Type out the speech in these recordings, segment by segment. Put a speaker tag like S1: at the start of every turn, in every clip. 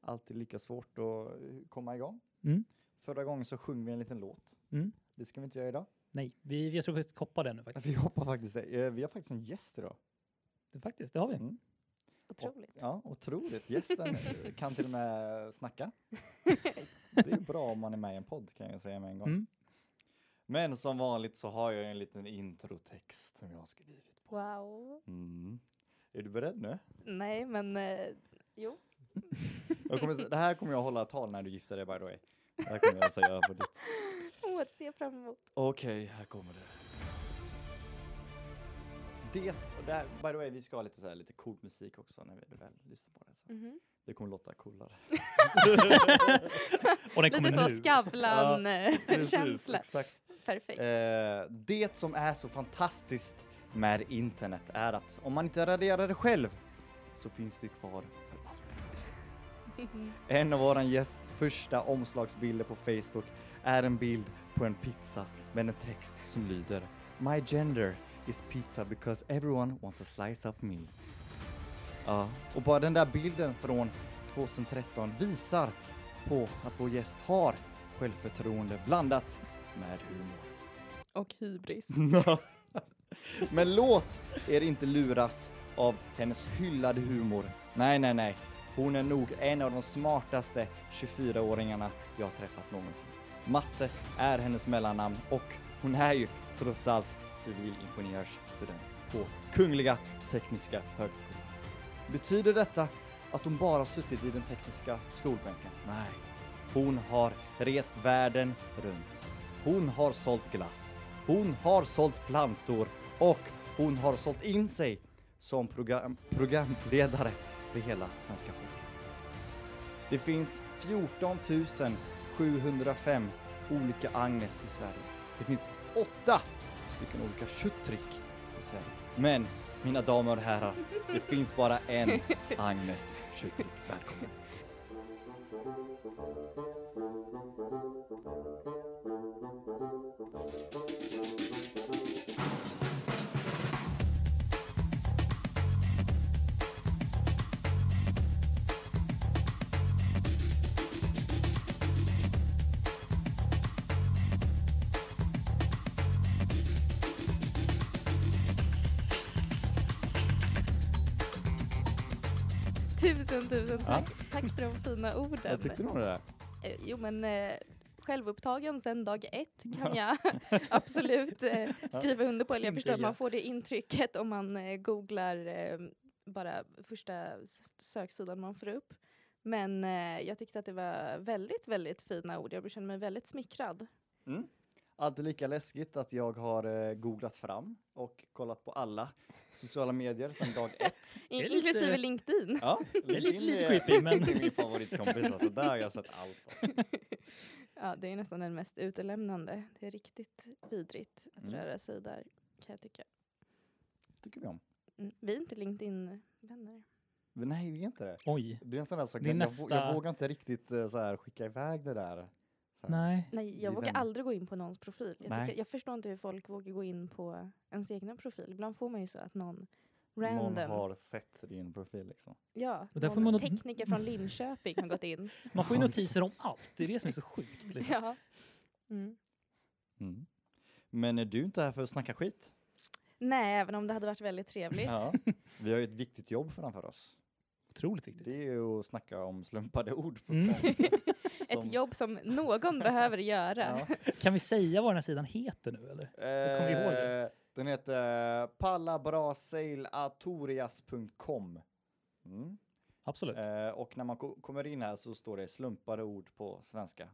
S1: alltid lika svårt att eh, komma igång.
S2: Mm.
S1: Förra gången så sjöng vi en liten låt.
S2: Mm.
S1: Det ska vi inte göra idag.
S2: Nej, vi, jag tror vi ska hoppa den nu faktiskt.
S1: Vi hoppar faktiskt det. Eh, Vi har faktiskt en gäst idag.
S2: Det, faktiskt, det har vi.
S1: Mm.
S3: Otroligt.
S1: Ja, otroligt. Gästen eh, kan till och med snacka. Det är bra om man är med i en podd kan jag säga med en gång.
S2: Mm.
S1: Men som vanligt så har jag en liten introtext som jag har skrivit.
S3: Wow.
S1: Mm. Är du beredd nu?
S3: Nej, men eh, jo.
S1: Jag kommer, det här kommer jag hålla tal när du gifter dig by the way. Det här kommer jag säga på ditt.
S3: Åh, Oh, att se fram emot.
S1: Okej, här kommer det. Det, och det här, by the way, vi ska ha lite, så här, lite cool musik också när vi väl lyssnar på det. Så.
S3: Mhm.
S1: Det kommer låta coolare.
S2: Och den kommer
S3: Lite så
S2: nu.
S1: Precis,
S3: Skavlan-känsla.
S1: Exakt.
S3: Perfekt.
S1: Eh, det som är så fantastiskt med internet är att om man inte raderar det själv så finns det kvar för allt. En av våran gäst första omslagsbilder på Facebook är en bild på en pizza med en text som lyder My gender is pizza because everyone wants a slice of me. Ja, och bara den där bilden från 2013 visar på att vår gäst har självförtroende blandat med humor.
S3: Och hybris.
S1: Men låt er inte luras av hennes hyllade humor. Nej, nej, nej. Hon är nog en av de smartaste 24-åringarna jag har träffat någonsin. Matte är hennes mellannamn och hon är ju trots allt civilingenjörsstudent på Kungliga Tekniska Högskolan. Betyder detta att hon bara suttit i den tekniska skolbänken? Nej. Hon har rest världen runt. Hon har sålt glass. Hon har sålt plantor och hon har sålt in sig som program- programledare för hela svenska folket. Det finns 14 705 olika Agnes i Sverige. Det finns åtta stycken olika kötttrick i Sverige. Men mina damer och herrar, det finns bara en Agnes kötttrick. Välkommen!
S3: Tusen, tusen tack. Tack för de fina orden.
S1: Jag tyckte nog det där.
S3: Eh, Jo, men eh, självupptagen sedan dag ett kan jag absolut eh, skriva under på. Eller jag förstår att
S1: Intyga.
S3: man får det intrycket om man eh, googlar eh, bara första s- söksidan man får upp. Men eh, jag tyckte att det var väldigt, väldigt fina ord. Jag känner mig väldigt smickrad.
S1: Mm. Alltid lika läskigt att jag har eh, googlat fram och kollat på alla sociala medier sedan dag ett.
S3: In-
S2: är lite-
S3: Inklusive LinkedIn.
S1: Ja,
S2: är lite- lite creepy, men-
S1: Det är min favoritkompis, alltså där har jag sett allt. Alltså.
S3: Ja, det är nästan den mest utelämnande. Det är riktigt vidrigt att
S1: Mm.
S3: röra sig där, kan jag tycka.
S1: tycker vi om.
S3: Mm. Vi är inte LinkedIn-vänner.
S1: Men nej, vi är inte det.
S2: Oj.
S1: Det är en sån där sak,
S2: Det är
S1: jag,
S2: nästa-
S1: jag vågar inte riktigt eh, så här, skicka iväg det där. Så här.
S2: Nej.
S3: Nej,
S1: Vi är
S3: jag vågar
S1: vänner.
S3: aldrig gå in på någons profil.
S1: Nej.
S3: Jag, tycker, jag förstår inte hur folk vågar gå in på ens egna profil. Ibland får man ju så att någon random,
S1: Någon har sett din profil liksom.
S3: ja,
S2: Och där får
S3: någon
S2: man nog-
S3: tekniker från Linköping har gått in.
S2: Man får ju notiser om allt. Det är det som är så sjukt. Liksom.
S3: ja. mm.
S1: Mm. Men är du inte här för att snacka skit?
S3: Nej, även om det hade varit väldigt trevligt.
S1: Ja. Vi har ju ett viktigt jobb framför oss.
S2: Otroligt viktigt.
S1: Det är ju att snacka om slumpade ord på
S2: Mm.
S1: svenska. Som-
S3: Ett jobb som någon behöver göra.
S1: Ja.
S2: Kan vi säga vad den här sidan heter nu eller? Kommer vi ihåg det?
S1: Eh, Den heter pallabrasailatorias.com. Mm.
S2: Absolut.
S1: Eh, och när man ko- kommer in här så står det slumpade ord på svenska.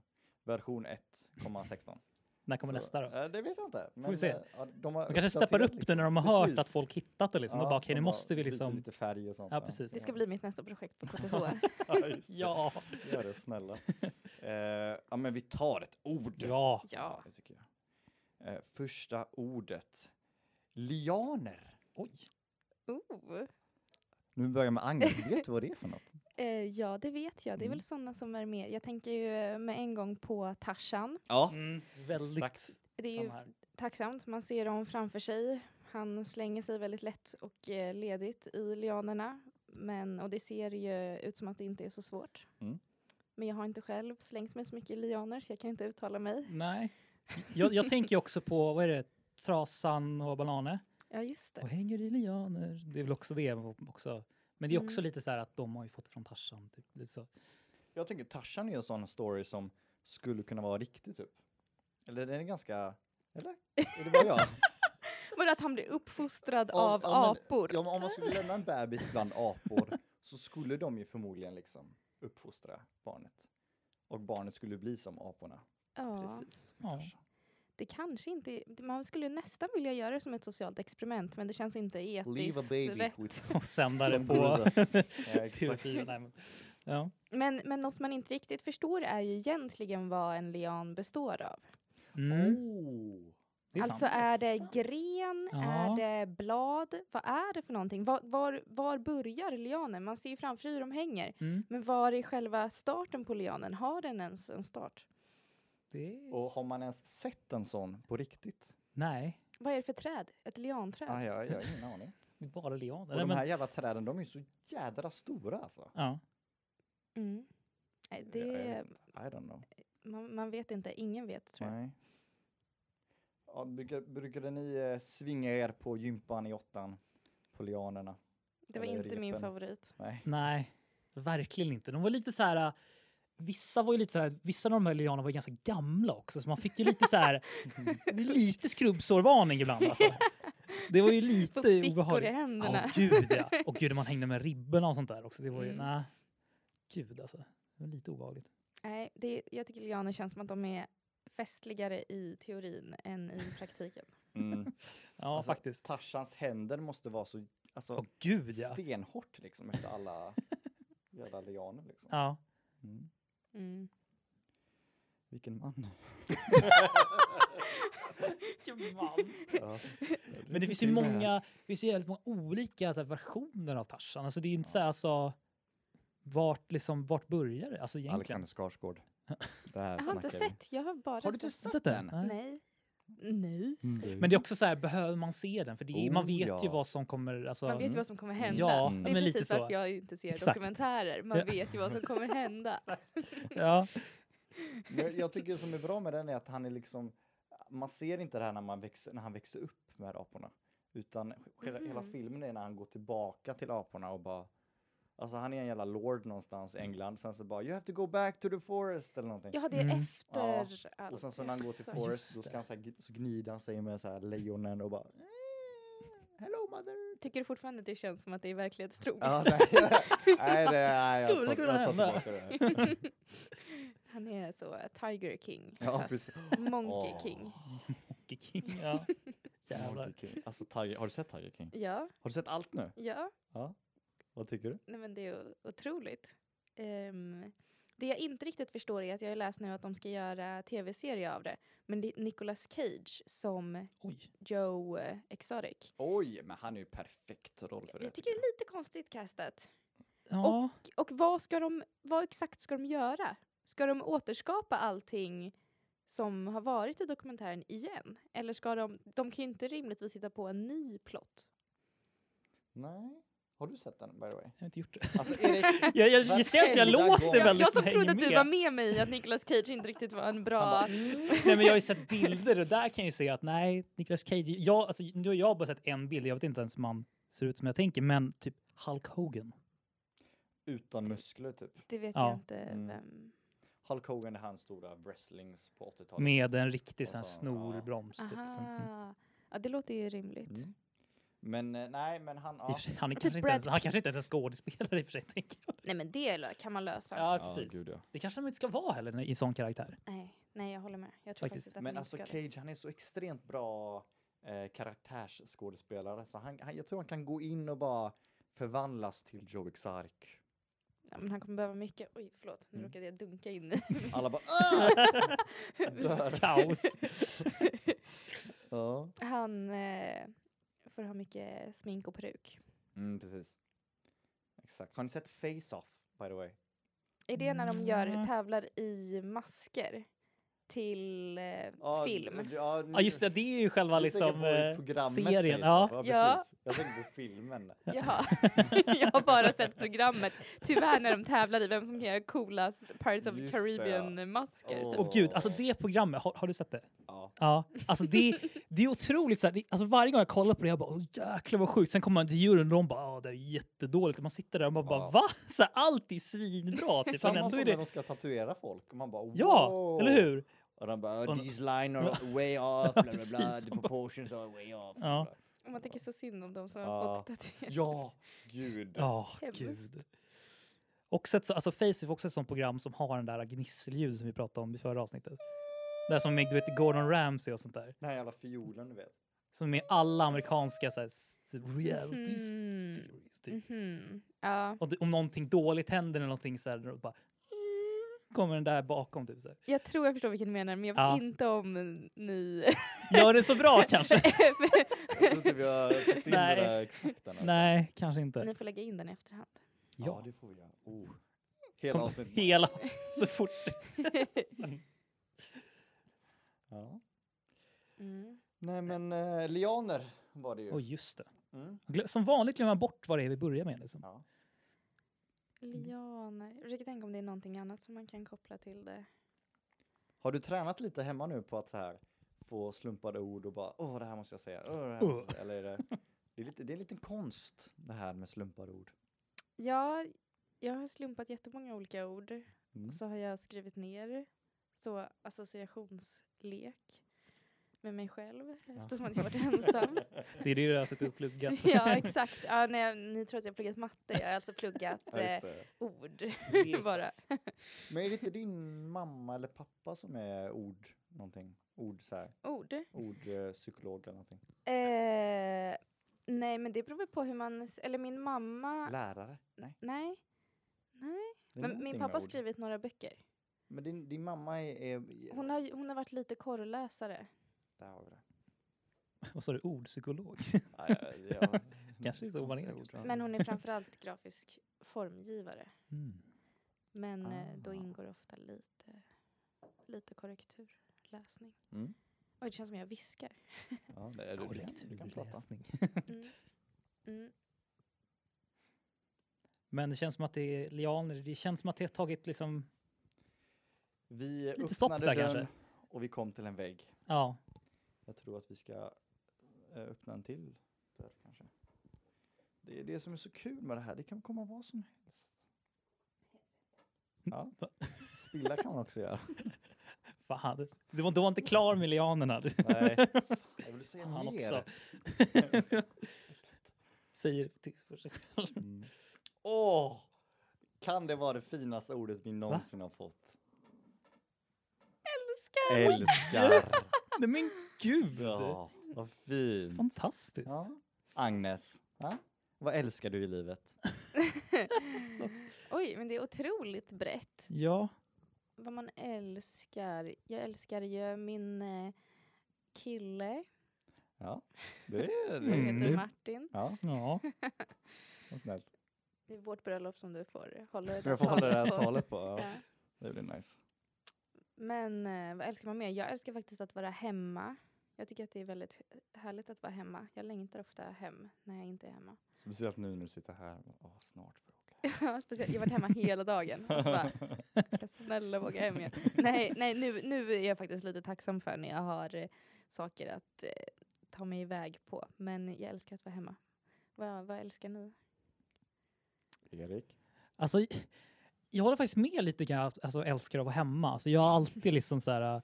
S1: Version 1,16.
S2: När kommer
S1: Så,
S2: nästa då?
S1: eh, det vet jag inte. Men,
S2: vi se.
S1: eh, ja, de har
S2: De kanske steppar
S1: uppdaterat
S2: upp
S1: lite.
S2: det när de har
S1: Precis.
S2: hört att folk hittat det liksom.
S1: Ja,
S2: och bara okej,
S1: de
S2: nu
S1: har
S2: måste vi
S1: bytt
S2: liksom.
S1: Lite färg och sånt.
S2: Ja, precis.
S3: Det ska bli mitt nästa projekt på KTH.
S1: Ja, just det.
S2: Ja.
S1: Gör det snälla. Eh, ja, men vi tar ett ord.
S2: Ja.
S3: ja.
S1: Det tycker jag. Eh, första ordet. Lianer.
S2: Oj.
S3: Oh.
S1: Nu börjar jag med Agnes. Vet du vad det är för något?
S3: Eh, ja, det vet jag. Det är
S1: Mm.
S3: väl sådana som är med. Jag tänker ju eh, med en gång på Tarzan.
S1: Ja,
S2: Mm, väldigt.
S1: exakt.
S3: Det är ju
S2: samma här.
S3: tacksamt. Man ser dem framför sig. Han slänger sig väldigt lätt och eh, ledigt i lianerna. Men, och det ser ju ut som att det inte är så svårt.
S1: Mm.
S3: Men jag har inte själv slängt mig så mycket i lianer så jag kan inte uttala mig.
S2: Nej. Jag, jag tänker ju också på, vad är det, trasan och bananer.
S3: Ja, just det.
S2: Och hänger i lianer. Det är väl också det också. Men det är också
S3: Mm.
S2: lite så här att de har ju fått det från Tarzan. Typ. Lite så.
S1: Jag tänker Tarzan är en sån story som skulle kunna vara riktig typ. Eller den är ganska, eller? Är det bara jag?
S3: Var det att han blev uppfostrad
S1: Om-
S3: av
S1: ja, men-
S3: apor?
S1: Ja, men om man skulle lämna en bebis bland apor så skulle de ju förmodligen liksom uppfostra barnet. Och barnet skulle bli som aporna.
S3: Ja.
S1: Precis.
S2: Ja.
S1: Tarzan.
S3: Det kanske inte är- Man skulle ju nästan vilja göra det som ett socialt experiment men det känns inte etiskt rätt.
S1: with
S2: Och sändare
S1: some
S2: på
S1: brothers. Ja, exakt.
S2: TV4. Nej, men, ja.
S3: Men, men något man inte riktigt förstår är ju egentligen vad en lian består av.
S2: Mm,
S1: Oh.
S2: det är
S3: alltså
S2: sant.
S3: är
S1: Det är
S3: det
S1: sant.
S3: gren,
S2: Ja.
S3: är det blad, vad är det för någonting? Var, var, var börjar lianen? Man ser ju framför sig hur de hänger.
S2: Mm,
S3: Men var är själva starten på lianen? Har den ens en start?
S2: det är...
S1: Och har man ens sett en sån på riktigt?
S2: Nej,
S3: Vad är det för träd? Ett lianträd?
S1: Ah, jag, jag har ingen aning.
S2: det är bara lianer.
S1: Och
S2: Nej,
S1: de
S2: men-
S1: här jävla träden, de är ju så jädra stora alltså.
S2: Ja.
S3: Mm. Nej,
S1: Ja, jag
S3: Det,
S1: vet. I don't know.
S3: man, man vet inte, ingen vet tror jag.
S1: Nej. Ja, brukar, brukade ni eh, svinga er på gympan i åttan? På lianerna?
S3: Det var
S1: Eller
S3: inte min
S1: repen.
S3: favorit.
S1: Nej.
S2: Nej, verkligen inte. De var lite så här... äh, Vissa var ju lite så här, vissa av de här lianerna var ju ganska gamla också så man fick ju lite så här, lite skrubbsårvarning ibland alltså. Det var ju lite
S3: Få stickor i
S2: obehagligt.
S3: händerna.
S2: Ja, gud ja. Och gud, man hängde med ribborna och sånt där också. Det var ju,
S3: Mm.
S2: nej. Gud alltså. Det var lite obehagligt.
S3: Nej, det, jag tycker lianer känns som att de är festligare i teorin än i praktiken.
S1: Mm.
S2: Ja,
S1: Alltså,
S2: faktiskt.
S1: Tarzans händer måste vara så alltså,
S2: Åh gud ja.
S1: stenhårt liksom efter alla jävla lianer liksom.
S2: Ja.
S1: Mm.
S3: Mm.
S1: Vilken man. Ja.
S2: Men det finns ju många, det finns ju jävligt många olika så här, versioner av Tarzan. Alltså det är ju inte så här alltså, vart, liksom, vart börjar det? Alltså egentligen.
S1: Alexander Skarsgård. Det här
S3: Jag har inte
S1: snackar vi.
S3: sett, jag har bara
S1: Har du inte
S2: Har du
S1: sett,
S2: sett den? Nej.
S3: Nej. Nej.
S1: Mm.
S2: Men det är också så här, behöver man se den? För det är, man
S1: Oh,
S2: vet ju
S1: ja.
S2: vad som kommer. Alltså,
S3: Man vet ju
S1: Mm.
S3: vad som kommer hända.
S2: Ja,
S1: Mm.
S3: Det
S2: men
S3: är
S2: lite
S3: precis varför
S2: så.
S3: jag inte ser
S2: Exakt.
S3: dokumentärer.
S2: Ja.
S3: Man vet ju vad som kommer hända.
S2: Ja.
S1: Jag, jag tycker det som är bra med den är att han är liksom, man ser inte det här när, man växer, när han växer upp med aporna. Utan hela, hela
S3: Mhm.
S1: filmen är när han går tillbaka till aporna och bara, alltså han är en jävla lord någonstans i England, sen så bara you have to go back to the forest eller någonting.
S3: Ja, det är
S2: Mm.
S3: efter allt.
S1: och sen så när han går till
S3: Så-
S1: forest
S2: Alltså, Just
S1: då ska
S2: det.
S1: han så, här, gn- så gnider han sig med så här lejonen och bara "Eh, Hello mother!
S3: Tycker du fortfarande att det känns som att det är verklighetstroget?
S1: Ja, nej, nej, det, nej, jag tar,
S2: Skulle
S1: jag
S2: kunna
S1: tar
S2: hända.
S1: tillbaka det.
S3: Han är så eh, Tiger King.
S1: Ja,
S3: fast
S1: precis.
S3: Monkey
S1: Åh.
S3: King.
S2: Monkey King, ja. Jävlar.
S1: Monkey King. Alltså, Tiger, har du sett Tiger King?
S3: Ja,
S1: Har du sett allt nu?
S3: ja.
S1: Vad tycker du?
S3: Nej, men det är o- otroligt. Ehm, det jag inte riktigt förstår är att jag har läst nu att de ska göra tv-serie av det. Men det är Nicolas Cage som
S2: Oj.
S3: Joe eh, Exotic.
S1: Oj, men han är ju perfekt roll för det.
S3: Jag tycker det är lite konstigt kastat.
S2: Ja.
S3: Och vad ska de, vad exakt ska de göra? Ska de återskapa allting som har varit i dokumentären igen? Eller ska de, de kan ju inte rimligtvis hitta på en ny plott.
S1: Nej. Har du sett den by the way?
S2: Jag har inte gjort det.
S1: Alltså Erik,
S2: Jag, jag, det känns som jag
S1: Varenda gång.
S2: låter
S1: är
S3: Jag,
S2: väldigt
S3: jag
S2: men
S3: som
S2: hänger
S3: trodde att du
S2: med.
S3: var med mig i att Nicolas Cage inte riktigt var en
S1: han
S3: bra...
S1: bara, mm.
S2: Nej, men jag har ju sett bilder och där kan jag ju se att nej, Nicolas Cage. Jag, alltså, nu har jag bara sett en bild. Jag vet inte ens om han ser ut som jag tänker, men typ Hulk Hogan.
S1: utan muskler typ.
S3: Det vet
S2: Ja.
S3: jag inte
S1: Mm.
S3: vem...
S1: Hulk Hogan är hans stora wrestlings på 80-talet.
S2: Med en riktig sån här
S1: Och så,
S2: snorbroms. Typ, liksom. Mm.
S3: Aha. Ja, det låter ju rimligt.
S1: Mm. Men eh, nej, men han...
S2: I och
S1: Ja.
S2: för sig, han, är
S3: typ
S2: kanske inte ens,
S3: Brad
S2: han kanske inte ens är en skådespelare i och för sig. Tänker jag.
S3: Nej men det lö- kan man lösa.
S2: Ja, precis.
S1: gud, ja.
S2: Det kanske de inte ska vara heller i en sån karaktär.
S3: Nej, nej, jag håller med. Jag tror
S2: Faktiskt.
S3: faktiskt, att man
S1: Men
S3: inte
S1: alltså
S3: ska det.
S1: Cage, han är så extremt bra eh, karaktärsskådespelare. Så han, han, jag tror han kan gå in och bara förvandlas till Joe Exark.
S3: Ja, men han kommer behöva mycket. Oj, förlåt. Nu
S1: Mm.
S3: råkade jag dunka in i
S1: Alla bara "Ah!" dör.
S2: Kaos.
S1: Ja.
S3: Han eh, får ha mycket smink och peruk.
S1: Mm, precis. Exakt. Har ni sett Face Off by the way?
S3: Är det när de gör,
S2: Mm.
S3: tävlar i masker? till eh,
S1: Ja,
S3: film.
S1: Ja,
S2: Ja just det, det är ju själva
S1: du tänker
S2: liksom
S1: på
S2: eh,
S1: programmet
S2: serien.
S1: säger så.
S2: Ja.
S3: Ja.
S1: precis. Jag tänkte på filmen.
S3: Jaha. jag har bara sett programmet. Tyvärr när de tävlar i vem som kan göra coolast Pirates of the
S1: Just det, ja.
S3: Caribbean-masker.
S1: Åh.
S3: Typ.
S2: Och gud, alltså det programmet, har, har du sett det?
S1: Ja.
S2: Ja, alltså det, det är otroligt så här, det, alltså varje gång jag kollar på det jag bara åh jäklar vad sjukt. Sen kommer man till juryn och de bara åh det är jättedåligt. Och man sitter där och man bara
S1: Ja.
S2: va? Så här, allt är svinbra typ. Men
S1: Samma
S2: ändå
S1: som
S2: är
S1: när
S2: det,
S1: de ska tatuera folk. Och man bara wow.
S2: ja, eller hur?
S1: Och de bara "Oh,
S2: Och-
S1: these lines are way off, bla bla bla,
S2: precis.
S1: the proportions are way off.
S2: Ja.
S3: Och Man tycker så synd om de som
S1: Ja.
S3: har fått tatueringar.
S1: Ja, gud.
S2: Ja,
S3: Hemskt.
S2: gud. Och sett, så- alltså Faceit var också ett sånt program som har den där gnisselljud som vi pratade om i förra avsnittet. Där som med, du vet, Gordon Ramsay och sånt där.
S1: Den här jävla fiolen du vet.
S2: Som är med i alla amerikanska så här, s- reality
S3: Mm.
S2: series. Typ.
S3: Mhm. Ja.
S2: Och det- om någonting dåligt händer eller någonting så här, då bara, "Mm", kommer den där bakom. Typ, så här.
S3: Jag tror jag förstår vilken du menar, men jag vet
S2: Ja.
S3: inte om ni...
S2: Gör det så bra kanske?
S1: Jag tror inte vi har fått in
S2: Nej.
S1: det där exakt än. alltså.
S2: Nej, kanske inte.
S3: ni får lägga in den i efterhand.
S1: Ja,
S2: Ja.
S1: det får vi göra. Oh. Hela
S2: Kom,
S1: avsnittet.
S2: hela, så fort.
S1: Ja.
S3: Mm.
S1: Nej men eh, lianer var det ju.
S2: Och just det.
S1: Mm.
S2: Glö- Som vanligt glömmer man bort vad det är vi börjar med. Liksom.
S1: Ja.
S3: Mm. Lianer. Jag försöker tänka om det är någonting annat som man kan koppla till det.
S1: Har du tränat lite hemma nu på att så här få slumpade ord och bara åh det här måste jag säga. Åh, det här
S2: Åh.
S1: måste jag säga. Eller är det, det, är lite, det är en liten konst det här med slumpade ord.
S3: Ja, jag har slumpat jättemånga olika ord.
S1: Mm.
S3: Och så har jag skrivit ner så associationslek med mig själv eftersom att jag varit ensam.
S2: Det är det du har suttit och pluggat.
S3: ja, exakt. Ja, när jag, ni tror att jag har pluggat matte. Jag har alltså pluggat
S1: Ja, just
S3: eh,
S1: det.
S3: ord
S2: Just
S3: bara.
S1: Men är det inte din mamma eller pappa som är ord någonting? Ord så här,
S3: Ord.
S1: ordpsykolog eller någonting?
S3: Eh, nej, men det beror väl på hur man... s- Eller min mamma...
S1: Lärare? Nej.
S3: nej. Nej.
S1: det är
S3: Men
S1: någonting
S3: min
S1: med
S3: pappa har
S1: ord.
S3: skrivit några böcker.
S1: Men din, din mamma är... är
S3: Hon har, ju- hon har varit lite korrläsare.
S1: Där har vi det.
S2: Vad sa du? Ordpsykolog?
S1: Ja, ja, ja.
S2: Kanske är så man är,
S1: Ord, ja.
S3: Men hon är framförallt grafisk formgivare.
S2: Mm.
S3: Men eh, då
S1: Ah.
S3: ingår ofta lite, lite korrektur, läsning.
S1: Mm.
S3: Och det känns som jag viskar.
S1: Ja, det är du kan- du kan prata.
S2: Korrekturläsning.
S3: Mm. Mm.
S2: Men det känns som att det är lianer. Det känns som att det har tagit liksom...
S1: Vi
S2: Lite
S1: öppnade
S2: stopp där
S1: dörren
S2: kanske.
S1: och vi kom till en vägg.
S2: Ja,
S1: Jag tror att vi ska eh, öppna en till dörr kanske. Det är det som är så kul med det här. Det kan komma vad som helst. Ja.
S2: Va?
S1: Spilla kan man också göra.
S2: fan. Du var, du var inte klar med lianerna. du.
S1: Nej. Jag vill säga
S2: Han
S1: mer.
S2: också. Säger till för sig själv.
S1: Mm. Åh! Kan det vara det finaste ordet vi någonsin har fått?
S3: Älskar!
S1: Älskar!
S2: Nej men gud!
S1: Ja, vad fint.
S2: Fantastiskt.
S1: Ja. Agnes, ja? vad älskar du i livet? Alltså.
S3: Oj, men det är otroligt brett.
S2: Ja.
S3: Vad man älskar. Jag älskar ju min eh, kille
S1: Ja, det är
S3: som
S2: Mm.
S3: heter Martin.
S1: Ja,
S2: ja.
S1: vad snällt.
S3: Det är vårt bröllop som du får hålla
S1: Ska jag få hålla det här
S3: på.
S1: talet på? Ja,
S3: Ja.
S1: det blir nice.
S3: Men eh, vad älskar man mer? Jag älskar faktiskt att vara hemma. Jag tycker att det är väldigt härligt att vara hemma. Jag längtar ofta hem när jag inte är hemma.
S1: Speciellt nu när du sitter här. Åh, snart får jag åka.
S3: Ja, speciellt. Jag har varit hemma hela dagen. Och så bara, "Kan snälla våga hem igen. Nej, nej nu, nu är jag faktiskt lite tacksam för när jag har eh, saker att eh, ta mig iväg på. Men jag älskar att vara hemma. Vad, vad älskar ni?
S1: Erik?
S2: Alltså, jag håller faktiskt med lite grann att alltså, jag älskar att vara hemma. Alltså, jag har alltid liksom så här... äh,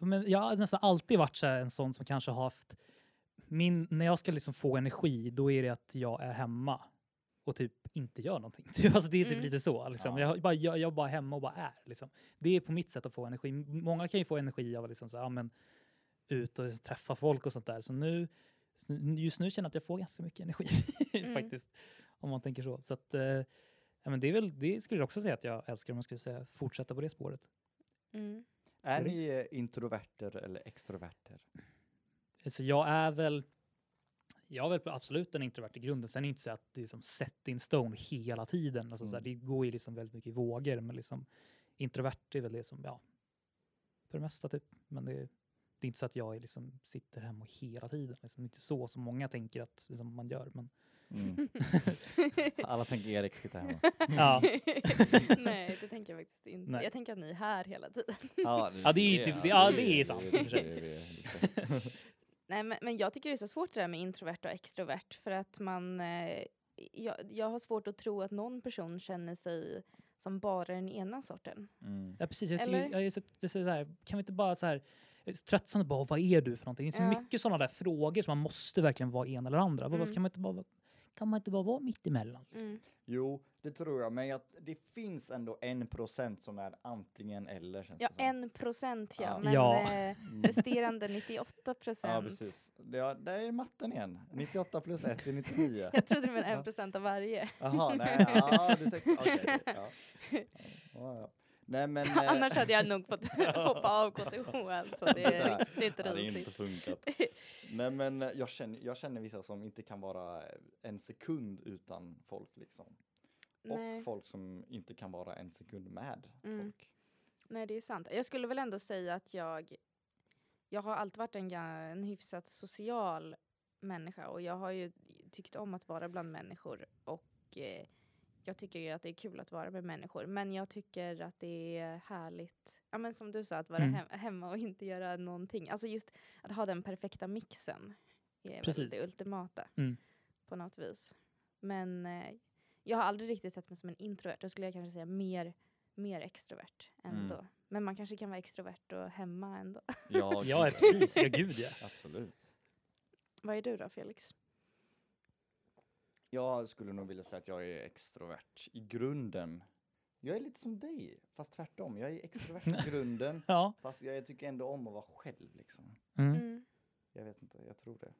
S2: Men jag har nästan alltid varit så här, en sån som kanske har haft... Min, när jag ska liksom få energi, då är det att jag är hemma och typ inte gör någonting. Typ, Alltså det är typ
S3: Mm.
S2: lite så. Liksom.
S1: Ja.
S2: Jag, bara, jag, jag är bara hemma och bara är. Liksom. Det är på mitt sätt att få energi. Många kan ju få energi av att liksom, så här, ja, men, ut och träffa folk och sånt där. Så nu, just nu känner jag att jag får ganska mycket energi
S3: Mm.
S2: faktiskt. Om man tänker så. Så att, eh, ja, men det, är väl, det skulle jag också säga att jag älskar om man skulle säga fortsätta på det spåret.
S3: Mm.
S1: Är
S2: Erik?
S1: ni eh, introverter eller extroverter?
S2: Eh, Så jag är väl jag är väl absolut en introvert i grunden. Sen är det inte så att det är liksom set in stone hela tiden. Alltså så här, det går ju liksom väldigt mycket i vågor. Men liksom, introvert är väl det som, ja, för det mesta. Typ. Men det, det är inte så att jag är liksom, sitter hemma hela tiden. Liksom. Det är inte så som många tänker att liksom, man gör. Men,
S1: Mm. Alla tänker Erik sitta hemma.
S2: ja.
S3: Mm. Nej, det tänker jag faktiskt inte.
S2: Nej.
S3: Jag tänker att ni är här hela tiden.
S1: Ja,
S2: Ja, det är ju typ- det- ja, det är sant i och för sig.
S1: det- det- det-
S3: Nej, men, men jag tycker det är så svårt det där med introvert och extrovert för att man... Eh, jag, jag har svårt att tro att någon person känner sig som bara den ena sorten.
S1: Mm.
S2: ja, precis. Jag, tycker,
S3: Eller?
S2: jag är så, det är så här, kan vi inte bara så här, jag är så tröttsamt bara, vad är du för någonting? Det är så
S3: Ja.
S2: mycket sådana där frågor som man måste verkligen vara en eller andra. Vad- vad
S3: Mm.
S2: Kan, man inte bara, vara- kan man inte bara vara mitt emellan?
S1: Jo, det tror jag, men jag, det finns ändå en procent som är antingen eller känns
S3: Ja,
S1: det som.
S3: en procent ja,
S1: Ja.
S3: men
S2: Ja.
S3: Eh,
S1: Mm.
S3: resterande 98
S1: Ja,
S3: procent.
S1: precis. Det, ja, där är matten igen. 98 plus 1 är 99.
S3: jag trodde det var
S1: Ja.
S3: en procent av varje.
S1: Jaha, nej, ja, du tänkte, okej. ja. Ja, ja. Nej, men... eh,
S3: Annars hade jag nog fått hoppa av KTH alltså. Det är
S1: där.
S3: riktigt
S1: Ja, det är
S3: risigt.
S1: inte funkat. Nej men eh, jag känner, jag känner vissa som inte kan vara eh, en sekund utan folk liksom.
S3: Nej.
S1: Och folk som inte kan vara en sekund med
S3: Mm.
S1: folk.
S3: Nej, det är sant. Jag skulle väl ändå säga att jag... Jag har alltid varit en, ga- en hyfsat social människa och jag har ju tyckt om att vara bland människor och eh, jag tycker ju att det är kul att vara med människor men jag tycker att det är härligt, ja men som du sa, att vara
S2: Mm.
S3: he- hemma och inte göra någonting. Alltså just att ha den perfekta mixen är väl det
S2: Precis.
S3: ultimata
S2: Mm.
S3: på något vis. Men eh, jag har aldrig riktigt sett mig som en introvert, då skulle jag kanske säga mer, mer extrovert
S1: Mm.
S3: ändå. Men man kanske kan vara extrovert och hemma ändå.
S1: Ja,
S2: Ja,
S1: gud,
S2: precis. Ja, gud ja.
S1: Absolut.
S3: Vad är du då Felix?
S1: Jag skulle nog vilja säga att jag är extrovert i grunden. Jag är lite som dig, fast tvärtom. Jag är extrovert i grunden,
S2: ja.
S1: fast jag tycker ändå om att vara själv liksom.
S2: Mm.
S3: Mm.
S1: Jag vet inte, jag tror det.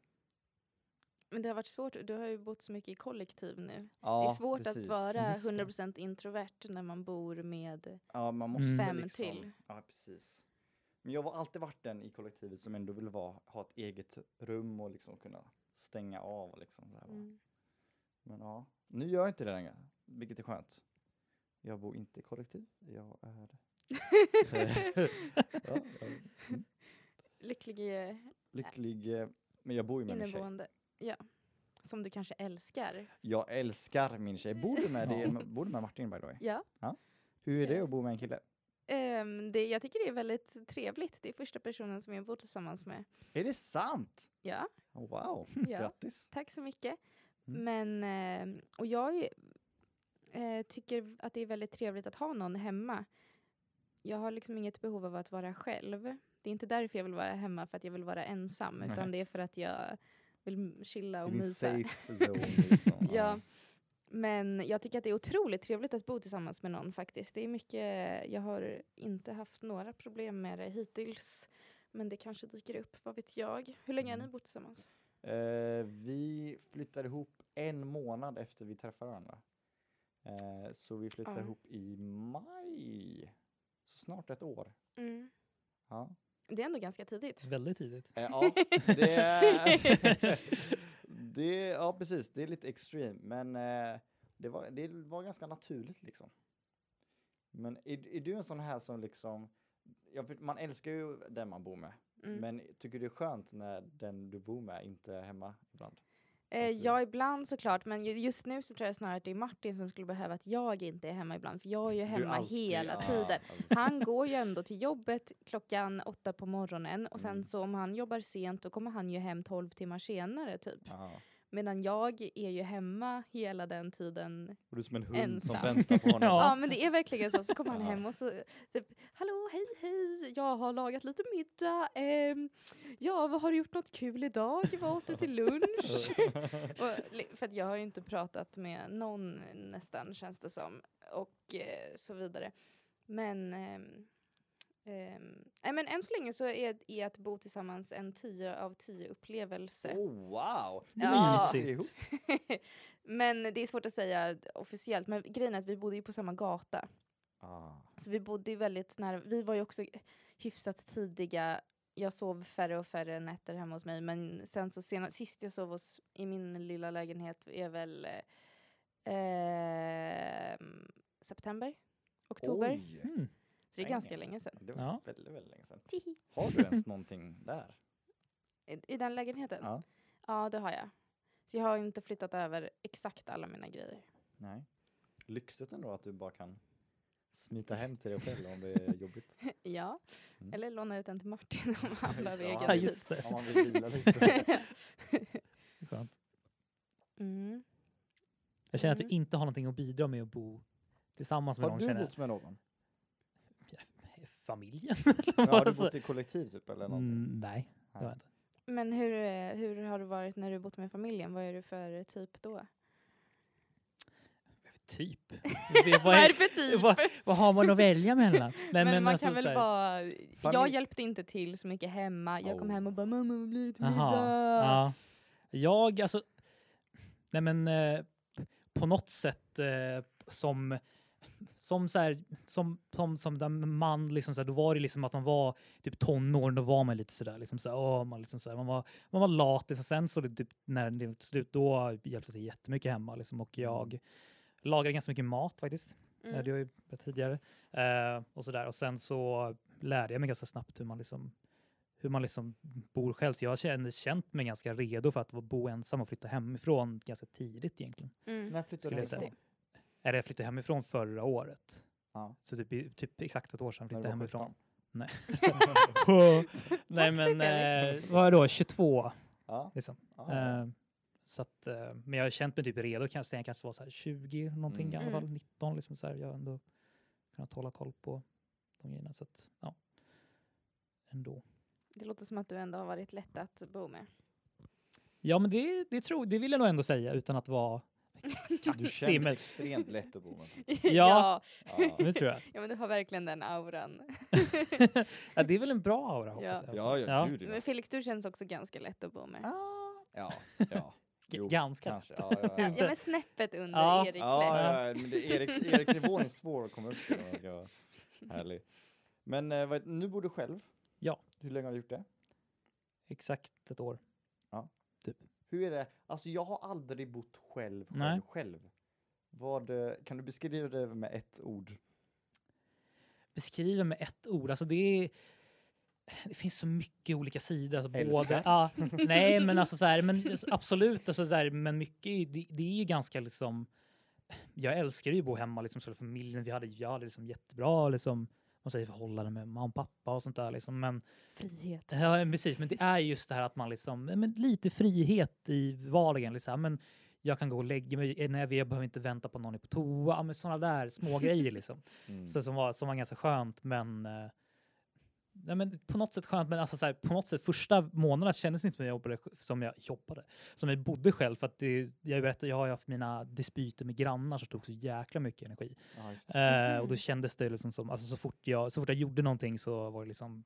S3: Men det har varit svårt, du har ju bott så mycket i kollektiv nu.
S1: Ja,
S3: det är svårt att
S1: precis.
S3: vara
S2: Just det.
S3: 100% introvert när man bor med
S1: Ja, man måste
S2: Mm.
S3: Fem
S1: liksom.
S3: till.
S1: Ja, precis. Men jag har alltid varit den i kollektivet som ändå vill vara, ha ett eget rum och liksom kunna stänga av. Liksom, så här. va.
S3: mm.
S1: Men ja, nu gör jag inte det längre, vilket är skönt. Jag bor inte i kollektiv, jag är... ja, jag är
S3: lycklig eh,
S1: lycklig, eh, men jag bor ju med min tjej.
S3: inneboende. Ja. Som du kanske älskar.
S1: Jag älskar min tjej. Bor du med, det, bor du med Martin by the way?
S3: Ja.
S1: Hur är det att bo med en kille?
S3: Ehm, det, jag tycker det är väldigt trevligt. Det är första personen som jag bor tillsammans med.
S1: Är det sant?
S3: Ja,
S1: Wow,
S3: ja.
S1: grattis!
S3: Tack så mycket.
S1: Mm.
S3: Men, eh, och jag är, eh, tycker att det är väldigt trevligt att ha någon hemma. Jag har liksom inget behov av att vara själv. Det är inte därför jag vill vara hemma, för att jag vill vara ensam, utan det är för att jag vill m- chilla och
S1: I din
S3: mysa.
S1: safe zone liksom.
S3: Ja. Men jag tycker att det är otroligt trevligt att bo tillsammans med någon faktiskt. Det är mycket, jag har inte haft några problem med det hittills. Men det kanske dyker upp, vad vet jag. Hur länge har ni
S1: Mm.
S3: bott tillsammans?
S1: Eh, vi flyttade ihop en månad efter vi träffade varandra. Eh, så vi flyttade
S3: Ja.
S1: ihop i maj. Så snart ett år. Ja,
S3: Mm. Det är ändå ganska tidigt.
S2: Väldigt tidigt.
S1: eh, ja det, är- det, ja precis. Det är lite extreme, men eh, det, var, det var ganska naturligt liksom. Men är, är du en sån här som liksom, ja, för man älskar ju den man bor med,
S3: Mm.
S1: men tycker du det är skönt när den du bor med inte är hemma ibland?
S3: Eh,
S1: Okej.
S3: ja, ibland såklart. Men ju, just nu så tror jag snarare att det är Martin som skulle behöva att jag inte är hemma ibland. För jag är ju
S1: Du
S3: hemma
S1: alltid-
S3: hela
S1: ja,
S3: tiden.
S1: ja, precis.
S3: Han går ju ändå till jobbet klockan åtta på morgonen och sen
S1: Mm.
S3: så om han jobbar sent då kommer han ju hem tolv timmar senare typ.
S1: Ja.
S3: Medan jag är ju hemma hela den tiden.
S1: Och du är som en hund
S3: Ensam.
S1: som väntar på honom.
S2: Ja.
S3: Ja, men det är verkligen så. Så kommer han
S1: Ja.
S3: hem och så typ, hallå, hej, hej, jag har lagat lite middag. Ehm, ja, vad har du gjort något kul idag? Vad åt du till lunch? Och, li- för att jag har ju inte pratat med någon nästan känns det som. Och eh, så vidare. Men, ehm, ehm, nej, men än så länge så är, är att bo tillsammans en 10 av 10 upplevelse.
S1: Oh, wow!
S3: Ja.
S1: Ihop.
S2: Mysigt.
S3: men det är svårt att säga officiellt. Men grejen är att vi bodde ju på samma gata.
S1: Ah.
S3: Så Alltså, vi bodde ju väldigt nära. Vi var ju också hyfsat tidiga. Jag sov färre och färre nätter hemma hos mig. Men sen så senast, sist jag sov hos, i min lilla lägenhet är väl eh, ehm, september, oktober.
S1: Oj!
S2: Mm.
S3: Så det är ganska länge sedan.
S1: Det var
S2: Ja.
S1: väldigt, väldigt länge sedan.
S3: Tihi.
S1: Har du ens någonting där?
S3: I, I den lägenheten?
S1: Ja.
S3: Ja, det har jag. Så jag har inte flyttat över exakt alla mina grejer.
S1: Nej. Lyxigt ändå att du bara kan smita hem till dig själv om det är jobbigt.
S3: Ja,
S1: Mm.
S3: eller låna ut den till Martin om han behöver
S1: Ja,
S2: Ja,
S3: egen tid.
S2: just det.
S1: Om man vill vila lite.
S2: Skönt.
S3: Mm.
S2: Jag känner att jag
S3: Mm.
S2: inte har någonting att bidra med att bo tillsammans med
S1: Har
S2: någon.
S1: du
S2: Känner.
S1: bott med någon?
S2: jag. Familjen?
S1: Ja, har du
S2: Alltså-
S1: bott i kollektiv typ eller någonting?
S2: Mm, nej, det har jag inte.
S3: Men hur, eh, hur har det varit när du bott med familjen? Vad är du för typ då?
S2: Typ. Det, vad,
S3: Vad är
S2: är,
S3: det för typ?
S2: vad- vad har man att välja mellan? Nej,
S3: men, man
S2: alltså
S3: kan väl
S2: så här-
S3: bara... Jag
S1: Familj-
S3: hjälpte inte till så mycket hemma. Jag kom
S1: Oh.
S3: hem och bara “mamma, vad blir det till middag?”
S2: Jaha, Ja. Jag, alltså... Nej men, eh, på något sätt eh, som... Som så här, som, som, som den man, liksom så här, då var det liksom att man var typ tonåring, då var man lite sådär liksom så här, åh, man liksom så här, man var, man var lat liksom. Sen så det, typ, när det var slut, då hjälpte det jättemycket hemma liksom och jag lagade ganska mycket mat faktiskt.
S3: Mm.
S2: Eh, Det har jag ju berättat tidigare. Eh, och sådär. Och sen så lärde jag mig ganska snabbt hur man liksom hur man liksom bor själv. Så jag har känt mig ganska redo för att bo ensam och flytta hemifrån ganska tidigt egentligen.
S3: Mm.
S1: När flyttade du
S2: Skulle jag
S1: hemifrån?
S2: Eller jag flyttade hemifrån förra året.
S1: Ja.
S2: Så typ, i- typ exakt ett år sedan
S1: När
S2: flyttade
S1: du
S2: jag
S1: var
S2: hemifrån.
S1: 17?
S2: Nej
S3: Toxic,
S2: men eh, vad är då, 22
S1: Ja.
S2: liksom.
S1: ja, ja.
S2: Eh, så att, eh, men jag har känt mig typ redo kanske sen jag kanske var så här 20 någonting i alla
S3: Mm.
S2: fall, 19 liksom så här. Jag har ändå kunnat hålla koll på de grejerna så att ja. Ändå.
S3: Det låter som att du ändå har varit lätt att bo med.
S2: Ja men det, det tror, det vill jag nog ändå säga utan att vara
S1: Du
S2: kaxig.
S1: känns
S2: men-
S1: extremt lätt att bo med.
S3: ja.
S1: Ja.
S2: Det tror jag.
S3: ja, men du har verkligen den auran.
S2: Ja, det är väl en bra aura hoppas
S3: Ja.
S2: jag.
S1: Ja, ja,
S2: Ja.
S1: gud ja.
S3: Men Felix, du känns också ganska lätt att bo med.
S1: Ah, Ja, ja.
S2: G-
S1: Jo,
S2: ganska.
S1: kanske. Ja, ja, ja.
S3: Ja, ja, men snäppet under
S2: Ja.
S3: Erik
S1: Ja,
S3: Lex.
S1: ja, ja, men det, Erik, Erik-nivån är svår att komma upp till. om man ska vara Härlig. Men eh, vad, nu bor du själv.
S2: Ja.
S1: Hur länge har du gjort det?
S2: Exakt ett år.
S1: Hur är det? Alltså jag har aldrig bott själv, själv,
S2: Nej.
S1: själv. Vad, eh, kan du beskriva det med ett ord?
S2: Beskriva med ett ord, alltså det är det finns så mycket olika sidor. Alltså
S1: Älskar.
S2: både, ja, nej, men alltså så här, men s- absolut, alltså så här, men mycket är ju- det, det är ju ganska liksom. Jag älskar ju att bo hemma liksom, så familjen. Vi hade, jag hade liksom jättebra liksom, man säger förhållanden med mamma och pappa och sånt där liksom. Men
S3: Frihet.
S2: Ja, men precis. Men det är just det här att man liksom, ja, men lite frihet i vardagen. Liksom. Men jag kan gå och lägga mig när jag vill, jag behöver inte vänta på någon är på toa. Ja, Men sådana där små grejer liksom.
S1: Mm.
S2: Så, som, var, som var ganska skönt, men eh, Nej, men på något sätt skönt, men alltså så här, på något sätt första månaderna kändes det inte som jag jobbade, som jag jobbade, som jag bodde själv. För att det, jag berättade, jag har ju haft mina dispyter med grannar som tog så jäkla mycket energi.
S1: Ja, just det.
S2: Eh, och
S3: Mhm.
S2: då kändes det liksom som, alltså så fort jag, så fort jag gjorde någonting så var det liksom